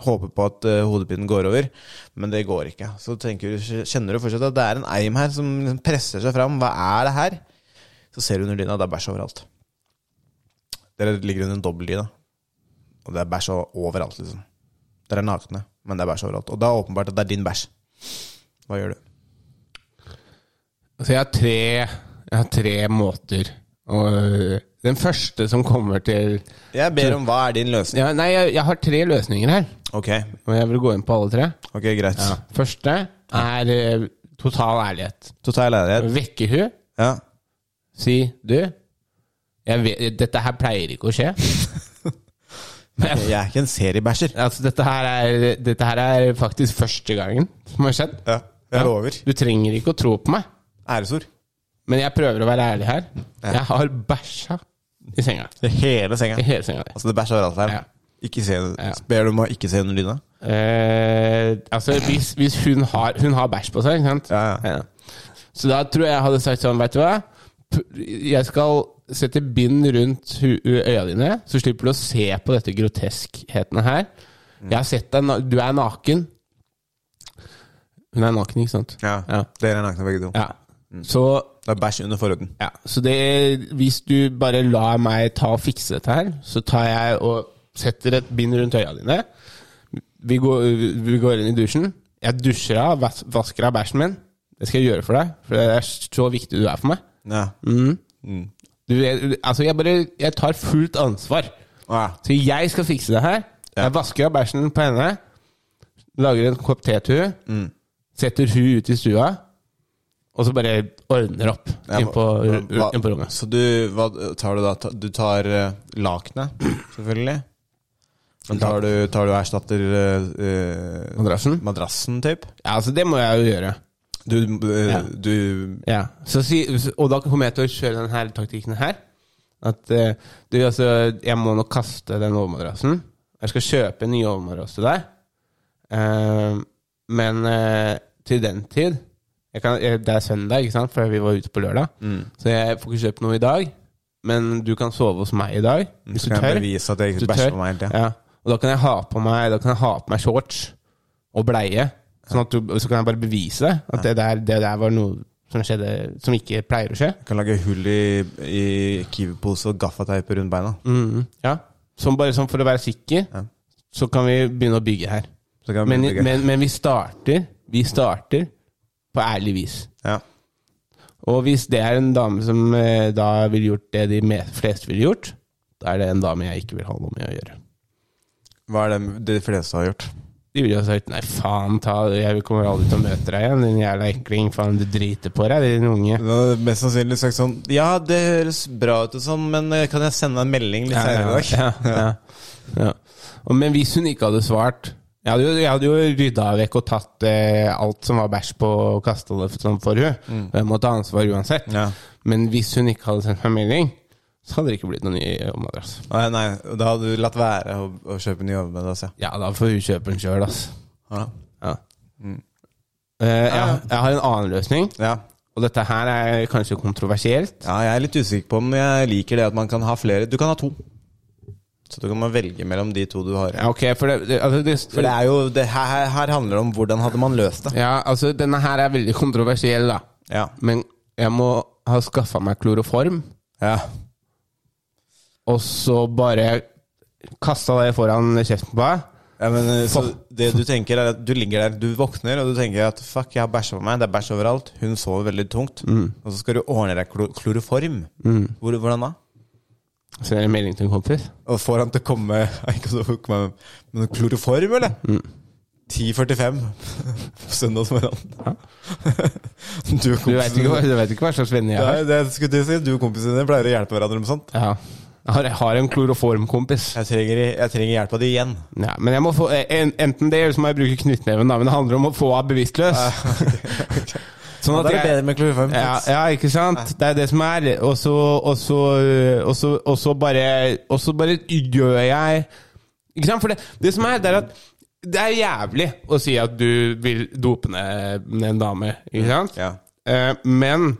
[SPEAKER 3] håpe på at eh, hodepinen går over, men det går ikke. Så tenker du, kjenner du fortsatt at det er en eim her som liksom presser seg fram. Hva er det her? Så ser du under dyna, det er bæsj overalt. Dere ligger under en dobbeldyne. Og det er bæsj overalt, liksom. Dere er nakne, men det er bæsj overalt. Og det er åpenbart at det er din bæsj. Hva gjør du?
[SPEAKER 2] Så jeg har tre, jeg har tre måter. Og øh, den første som kommer til
[SPEAKER 3] Jeg ber om hva er din løsning.
[SPEAKER 2] ja, Nei, jeg, jeg har tre løsninger her.
[SPEAKER 3] Ok,
[SPEAKER 2] Og jeg vil gå inn på alle tre.
[SPEAKER 3] ok, greit.
[SPEAKER 2] Første er øh, total ærlighet.
[SPEAKER 3] Total ærlighet.
[SPEAKER 2] Vekke hun,
[SPEAKER 3] Ja.
[SPEAKER 2] si du jeg vet, Dette her pleier ikke å skje. Men,
[SPEAKER 3] Jeg er ikke en seriebæsjer.
[SPEAKER 2] altså, dette, her er, dette her er faktisk første gangen som har skjedd.
[SPEAKER 3] Ja, jeg lover.
[SPEAKER 2] Du trenger ikke å tro på meg,
[SPEAKER 3] Æresord.
[SPEAKER 2] men jeg prøver å være ærlig her. Jeg har bæsja i senga.
[SPEAKER 3] Det hele senga.
[SPEAKER 2] I hele senga.
[SPEAKER 3] Altså, det er bæsj overalt her.
[SPEAKER 2] Ja.
[SPEAKER 3] Ikke se,
[SPEAKER 2] Ja.
[SPEAKER 3] Ber du om å ikke se under dyna?
[SPEAKER 2] Eh, altså, hvis, hvis hun har, hun har bæsj på seg, ikke sant?
[SPEAKER 3] Ja, ja.
[SPEAKER 2] Så da tror jeg jeg hadde sagt sånn, vet du hva? P- Jeg skal sette bind rundt hu- øya dine, så slipper du å se på dette groteskhetene her. Jeg har sett deg, na- du er naken. Hun er naken, ikke sant? Ja.
[SPEAKER 3] Dere er nakne begge to.
[SPEAKER 2] Ja.
[SPEAKER 3] Mm.
[SPEAKER 2] Så,
[SPEAKER 3] Det er bæsj under forhuden.
[SPEAKER 2] ja. så det, hvis du bare lar meg ta og fikse dette her, så tar jeg og setter et bind rundt øya dine. Vi går, vi går inn i dusjen. Jeg dusjer av, vas- vasker av bæsjen min. Det skal jeg gjøre for deg, for det er så viktig du er for meg.
[SPEAKER 3] Ja.
[SPEAKER 2] Mm. Du, jeg, altså jeg bare Jeg tar fullt ansvar.
[SPEAKER 3] Ja.
[SPEAKER 2] Så jeg skal fikse det her. Jeg vasker av bæsjen på henne. Lager en kopp te til hun
[SPEAKER 3] Mm.
[SPEAKER 2] Setter hun ut i stua. Og så bare ordner opp
[SPEAKER 3] Ja,
[SPEAKER 2] inn på,
[SPEAKER 3] hva- hva-
[SPEAKER 2] inn på rommet.
[SPEAKER 3] Så du, hva tar du da? Ta- Du tar eh, lakenet, selvfølgelig. Men tar du, tar du og erstatter eh, eh,
[SPEAKER 2] Madrassen?
[SPEAKER 3] madrassen, typ?
[SPEAKER 2] Ja, altså det må jeg jo gjøre.
[SPEAKER 3] Du, eh,
[SPEAKER 2] Ja.
[SPEAKER 3] du
[SPEAKER 2] Ja. Så si, og da kommer jeg til å kjøre denne taktikken her. At eh, du, altså, jeg må nok kaste den overmadrassen. Jeg skal kjøpe en ny overmadrass til deg. Eh, men eh, til den tid jeg kan, jeg, Det er søndag, ikke sant? for vi var ute på lørdag.
[SPEAKER 3] Mm.
[SPEAKER 2] Så jeg får ikke kjøpt noe i dag. Men du kan sove hos meg i dag, hvis
[SPEAKER 3] Mm, så
[SPEAKER 2] du
[SPEAKER 3] kan jeg
[SPEAKER 2] tør.
[SPEAKER 3] bevise at jeg
[SPEAKER 2] Du
[SPEAKER 3] ikke bæsjer
[SPEAKER 2] tør?
[SPEAKER 3] på meg hele tida.
[SPEAKER 2] Ja. Og da kan jeg ha på meg Da kan jeg ha på meg shorts og bleie. Sånn at du, så kan jeg bare bevise det. At det der, det der var noe som skjedde som ikke pleier å skje.
[SPEAKER 3] Du kan lage hull i, i kiwi-pose og gaffateip rundt beina.
[SPEAKER 2] Mhm. Ja. Som bare sånn for å være sikker,
[SPEAKER 3] Ja.
[SPEAKER 2] så kan vi begynne å bygge her.
[SPEAKER 3] Så kan
[SPEAKER 2] Men,
[SPEAKER 3] vi bruke-
[SPEAKER 2] men, men vi starter Vi starter på ærlig vis.
[SPEAKER 3] ja.
[SPEAKER 2] Og hvis det er en dame som eh, da ville gjort det de me- fleste ville gjort, da er det en dame jeg ikke vil ha noe med å gjøre.
[SPEAKER 3] Hva er det de fleste har gjort?
[SPEAKER 2] De ville jo sagt nei, faen ta Jeg kommer aldri til å møte deg igjen, din jævla ekling. Faen, du driter på deg, din unge.
[SPEAKER 3] Da hadde jeg Mest sannsynlig sagt sånn Ja, det høres bra ut og sånn, men eh, kan jeg sende en melding litt senere i dag?
[SPEAKER 2] ja, ja, ja. Og, men hvis hun ikke hadde svart Jeg hadde jo, jeg hadde jo rydda vekk og tatt eh, alt som var bæsj på, og kasta det for- sånn for hun Og Jeg må ta ansvar uansett.
[SPEAKER 3] Ja.
[SPEAKER 2] Men hvis hun ikke hadde sendt meg melding, så hadde det ikke blitt noen ny madrass.
[SPEAKER 3] Nei, nei, da hadde du latt være å, å kjøpe ny overmadrass, ja.
[SPEAKER 2] Ja, da får hun kjøpe den sjøl, ass.
[SPEAKER 3] altså, Ja.
[SPEAKER 2] Ja. Eh, jeg, jeg har en annen løsning,
[SPEAKER 3] ja.
[SPEAKER 2] og dette her er kanskje kontroversielt.
[SPEAKER 3] Ja, jeg er litt usikker på om jeg liker det at man kan ha flere. Du kan ha to. Så du kan man velge mellom de to du har.
[SPEAKER 2] Ja, ok, for det, det, altså, det,
[SPEAKER 3] For det er jo det her, her- her handler det om hvordan hadde man løst det.
[SPEAKER 2] Ja, altså denne her er veldig kontroversiell, da.
[SPEAKER 3] Ja.
[SPEAKER 2] Men jeg må ha skaffa meg kloroform,
[SPEAKER 3] Ja.
[SPEAKER 2] og så bare kasta det foran kjeften på deg.
[SPEAKER 3] ja men eh, så det du tenker er at du ligger der, du våkner, og du tenker at fuck, jeg har bæsja på meg, det er bæsj overalt, hun sover veldig tungt,
[SPEAKER 2] Mm.
[SPEAKER 3] og så skal du ordne deg klo kloroform. Hvor, hvordan da?
[SPEAKER 2] Sender en melding til en kompis.
[SPEAKER 3] *laughs*
[SPEAKER 2] Mm.
[SPEAKER 3] Og får han til å komme Ikke så kommer han- men kloroform, eller? 10.45 på søndagsmorgenen. *laughs* Du og
[SPEAKER 2] Du veit ikke, hva-
[SPEAKER 3] kompisen
[SPEAKER 2] du vet ikke hva slags venner jeg
[SPEAKER 3] Nei,
[SPEAKER 2] har.
[SPEAKER 3] det skulle jeg si. Du og kompisen din pleier å hjelpe hverandre med sånt.
[SPEAKER 2] Ja. Jeg har- Jeg har en kloroformkompis.
[SPEAKER 3] Jeg trenger, jeg trenger hjelp av de igjen.
[SPEAKER 2] Ja, men jeg må få, en, enten det, eller så må jeg bruke knyttneven. Da, men det handler om å få henne bevisstløs. Sånn
[SPEAKER 3] Da
[SPEAKER 2] at
[SPEAKER 3] er det
[SPEAKER 2] jeg
[SPEAKER 3] bedre med kloroform.
[SPEAKER 2] ja, ja, ikke sant? Det er det som er. Og så og så- og så- og så bare Og så bare gjør jeg Ikke sant? For det, det som er, det er at det er jævlig å si at du vil dope ned en dame, ikke sant?
[SPEAKER 3] Ja.
[SPEAKER 2] Eh, men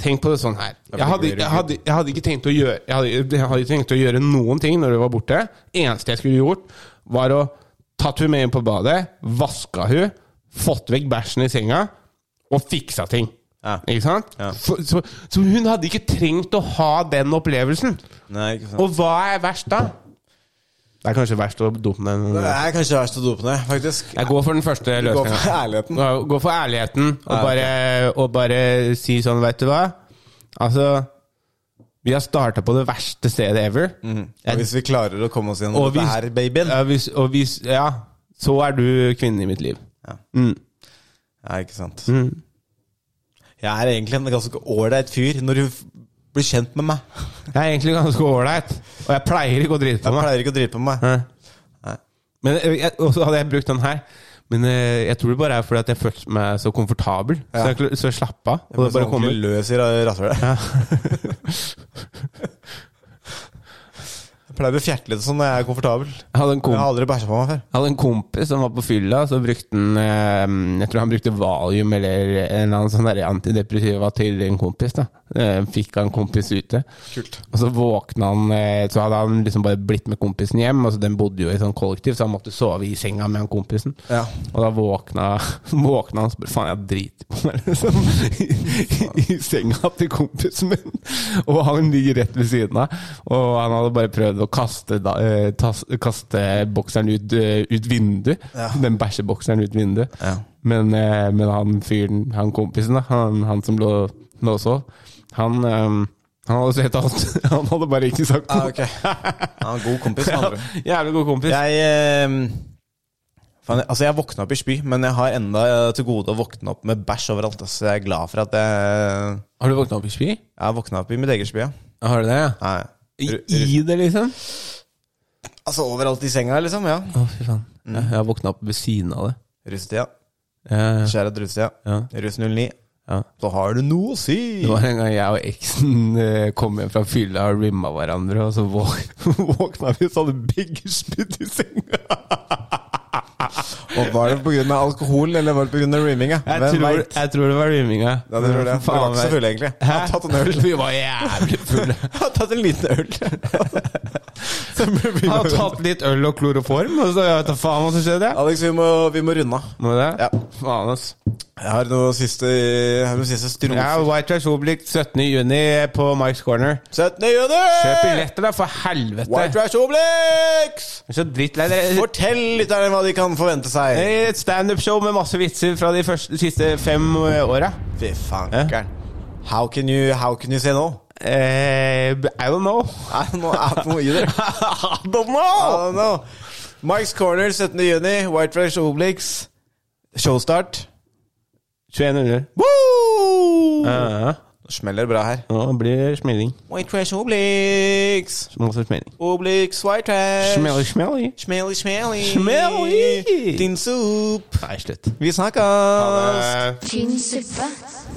[SPEAKER 2] tenk på det sånn her.
[SPEAKER 3] blir
[SPEAKER 2] Jeg hadde,
[SPEAKER 3] det
[SPEAKER 2] jeg, hadde, jeg hadde ikke tenkt å gjøre Jeg hadde, jeg hadde ikke tenkt å gjøre noen ting når du var borte. Eneste jeg skulle gjort, var å tatt hun med inn på badet, vaska hun, fått vekk bæsjen i senga og fiksa ting.
[SPEAKER 3] Ja.
[SPEAKER 2] Ikke sant?
[SPEAKER 3] Ja.
[SPEAKER 2] Så, så, så hun hadde ikke trengt å ha den opplevelsen.
[SPEAKER 3] Nei, ikke sant.
[SPEAKER 2] Og hva er verst da? Det er kanskje verst å dope den.
[SPEAKER 3] Det er kanskje verst å dope ned, faktisk.
[SPEAKER 2] Jeg går for den første
[SPEAKER 3] Gå
[SPEAKER 2] løsninga. *laughs*
[SPEAKER 3] for ærligheten.
[SPEAKER 2] Ja, Gå for ærligheten og,
[SPEAKER 3] Ja, ok.
[SPEAKER 2] bare, og bare si sånn, vet du hva? Altså, vi har starta på det verste stedet ever.
[SPEAKER 3] Mhm. Og hvis
[SPEAKER 2] Jeg,
[SPEAKER 3] vi klarer å komme oss gjennom
[SPEAKER 2] Og
[SPEAKER 3] dette
[SPEAKER 2] hvis-
[SPEAKER 3] her, babyen
[SPEAKER 2] ja, hvis, og hvis, ja, så er du kvinnen i mitt liv.
[SPEAKER 3] Ja.
[SPEAKER 2] Mm.
[SPEAKER 3] Ja, ikke sant.
[SPEAKER 2] Mm.
[SPEAKER 3] Jeg er egentlig en ganske ålreit fyr når du f- blir
[SPEAKER 2] *laughs*
[SPEAKER 3] kjent med meg.
[SPEAKER 2] Jeg er egentlig ganske ålreit, og jeg pleier ikke å drite på
[SPEAKER 3] Jeg
[SPEAKER 2] meg.
[SPEAKER 3] pleier ikke å drite på meg.
[SPEAKER 2] Nei.
[SPEAKER 3] Nei.
[SPEAKER 2] Men eh, jeg, og så hadde jeg brukt den her. Men eh, jeg tror det bare er fordi at jeg følte meg så komfortabel. Så jeg, kl- så jeg slappa av. Og det bare
[SPEAKER 3] kommer
[SPEAKER 2] kommer.
[SPEAKER 3] sånn løs i ra- rasshølet.
[SPEAKER 2] Ja. *laughs*
[SPEAKER 3] Jeg pleier å fjerte litt sånn når jeg er komfortabel.
[SPEAKER 2] Jeg hadde en
[SPEAKER 3] Jeg har
[SPEAKER 2] kompis
[SPEAKER 3] aldri bæsja på meg før.
[SPEAKER 2] Jeg hadde en kompis som var på fylla, så brukte han eh, Jeg tror han brukte valium eller en eller annen sånn der antidepressiva til en kompis. da Eh, Fikk han kompis ute.
[SPEAKER 3] Kult.
[SPEAKER 2] Og så våkna han eh, Så hadde han liksom bare blitt med kompisen hjem. Altså Den bodde jo i sånn kollektiv, så han måtte sove i senga med han kompisen.
[SPEAKER 3] Ja.
[SPEAKER 2] Og da våkna, *laughs* våkna han og spurte Faen, jeg driter på meg, liksom. I, i, I senga til kompisen min. Og han ligger rett ved siden av. Og han hadde bare prøvd å kaste, da, eh, tas, kaste bokseren ut, eh, ut vinduet.
[SPEAKER 3] Ja.
[SPEAKER 2] Den bæsjebokseren ut vinduet.
[SPEAKER 3] Ja.
[SPEAKER 2] Men, eh, men han fyren, han kompisen, da, han, han som lå, lå og sov, han eh, han hadde sett alt. *laughs* Han hadde bare ikke sagt
[SPEAKER 3] Ah,
[SPEAKER 2] noe.
[SPEAKER 3] *laughs* ok. Han er en god kompis,
[SPEAKER 2] *laughs*
[SPEAKER 3] med andre.
[SPEAKER 2] Jævlig god kompis.
[SPEAKER 3] Jeg eh, faen, jeg- Altså, jeg våkna opp i spy, men jeg har enda eh, til gode å våkne opp med bæsj overalt. ass. Så jeg er glad for at jeg,
[SPEAKER 2] Har du våkna opp i spy?
[SPEAKER 3] jeg har våkna opp i mitt eget spy. Ja.
[SPEAKER 2] Har du det? ja?
[SPEAKER 3] Nei.
[SPEAKER 2] I,
[SPEAKER 3] Ru-
[SPEAKER 2] i det, liksom?
[SPEAKER 3] Altså overalt i senga, liksom. Ja.
[SPEAKER 2] Å, fy faen.
[SPEAKER 3] Mm.
[SPEAKER 2] Jeg, jeg våkna opp ved siden av det.
[SPEAKER 3] Russetida.
[SPEAKER 2] Ja,
[SPEAKER 3] Kjære russetida.
[SPEAKER 2] ja,
[SPEAKER 3] Russ 09.
[SPEAKER 2] ja.
[SPEAKER 3] Så har du noe å
[SPEAKER 2] *laughs*
[SPEAKER 3] si!
[SPEAKER 2] Det var en gang jeg og eksen eh, kom hjem fra fylla og rimma hverandre, og så våk- *laughs* våkna vi og så hadde begge spydd i senga.
[SPEAKER 3] Og var det pga. alkohol eller var det pga. rømminga?
[SPEAKER 2] Jeg tror, jeg tror det var rimminga.
[SPEAKER 3] Ja, det tror jeg. Vi var ikke så fulle, egentlig. Jeg har tatt en øl.
[SPEAKER 2] *laughs* Vi var jævlig fulle.
[SPEAKER 3] Jeg har tatt en liten
[SPEAKER 2] *laughs*
[SPEAKER 3] øl. *laughs* Så ble vi-
[SPEAKER 2] Jeg har tatt litt øl og kloroform, og så jeg vet da faen hva som skjedde.
[SPEAKER 3] Alex, vi må, vi må runde av.
[SPEAKER 2] Må det?
[SPEAKER 3] Ja.
[SPEAKER 2] Faen, ass.
[SPEAKER 3] Jeg har noen siste, jeg har noen siste strofer.
[SPEAKER 2] Ja, White Trash Oblik 17. juni på Mike's Corner.
[SPEAKER 3] 17. juni!
[SPEAKER 2] Kjøp billetter, da, for helvete!
[SPEAKER 3] White Trash Obelix!
[SPEAKER 2] Jeg er Så drittlei dere.
[SPEAKER 3] Fortell lytterne hva de kan forvente seg.
[SPEAKER 2] Eh, Et standup-show med masse vitser fra de første, siste fem eh, åra.
[SPEAKER 3] Fy fankeren. How can you, how can you say no?
[SPEAKER 2] Eh, I don't know.
[SPEAKER 3] I don't know. I don't know *laughs* either. I don't know. Mike's Corner 17. juni. White Trash Obelix. Showstart.
[SPEAKER 2] 2100.
[SPEAKER 3] Woo!
[SPEAKER 2] Ja,
[SPEAKER 3] Nå smeller Eh, det bra her.
[SPEAKER 2] ja. Nå blir det smelling.
[SPEAKER 3] White Trash Obelix.
[SPEAKER 2] Masse smelling.
[SPEAKER 3] Obelix White Trash.
[SPEAKER 2] Smelly, smelly.
[SPEAKER 3] Smelly, smelly.
[SPEAKER 2] Smelly.
[SPEAKER 3] Din soup.
[SPEAKER 2] Nei, slutt.
[SPEAKER 3] Vi snakkes.
[SPEAKER 1] tynn suppe.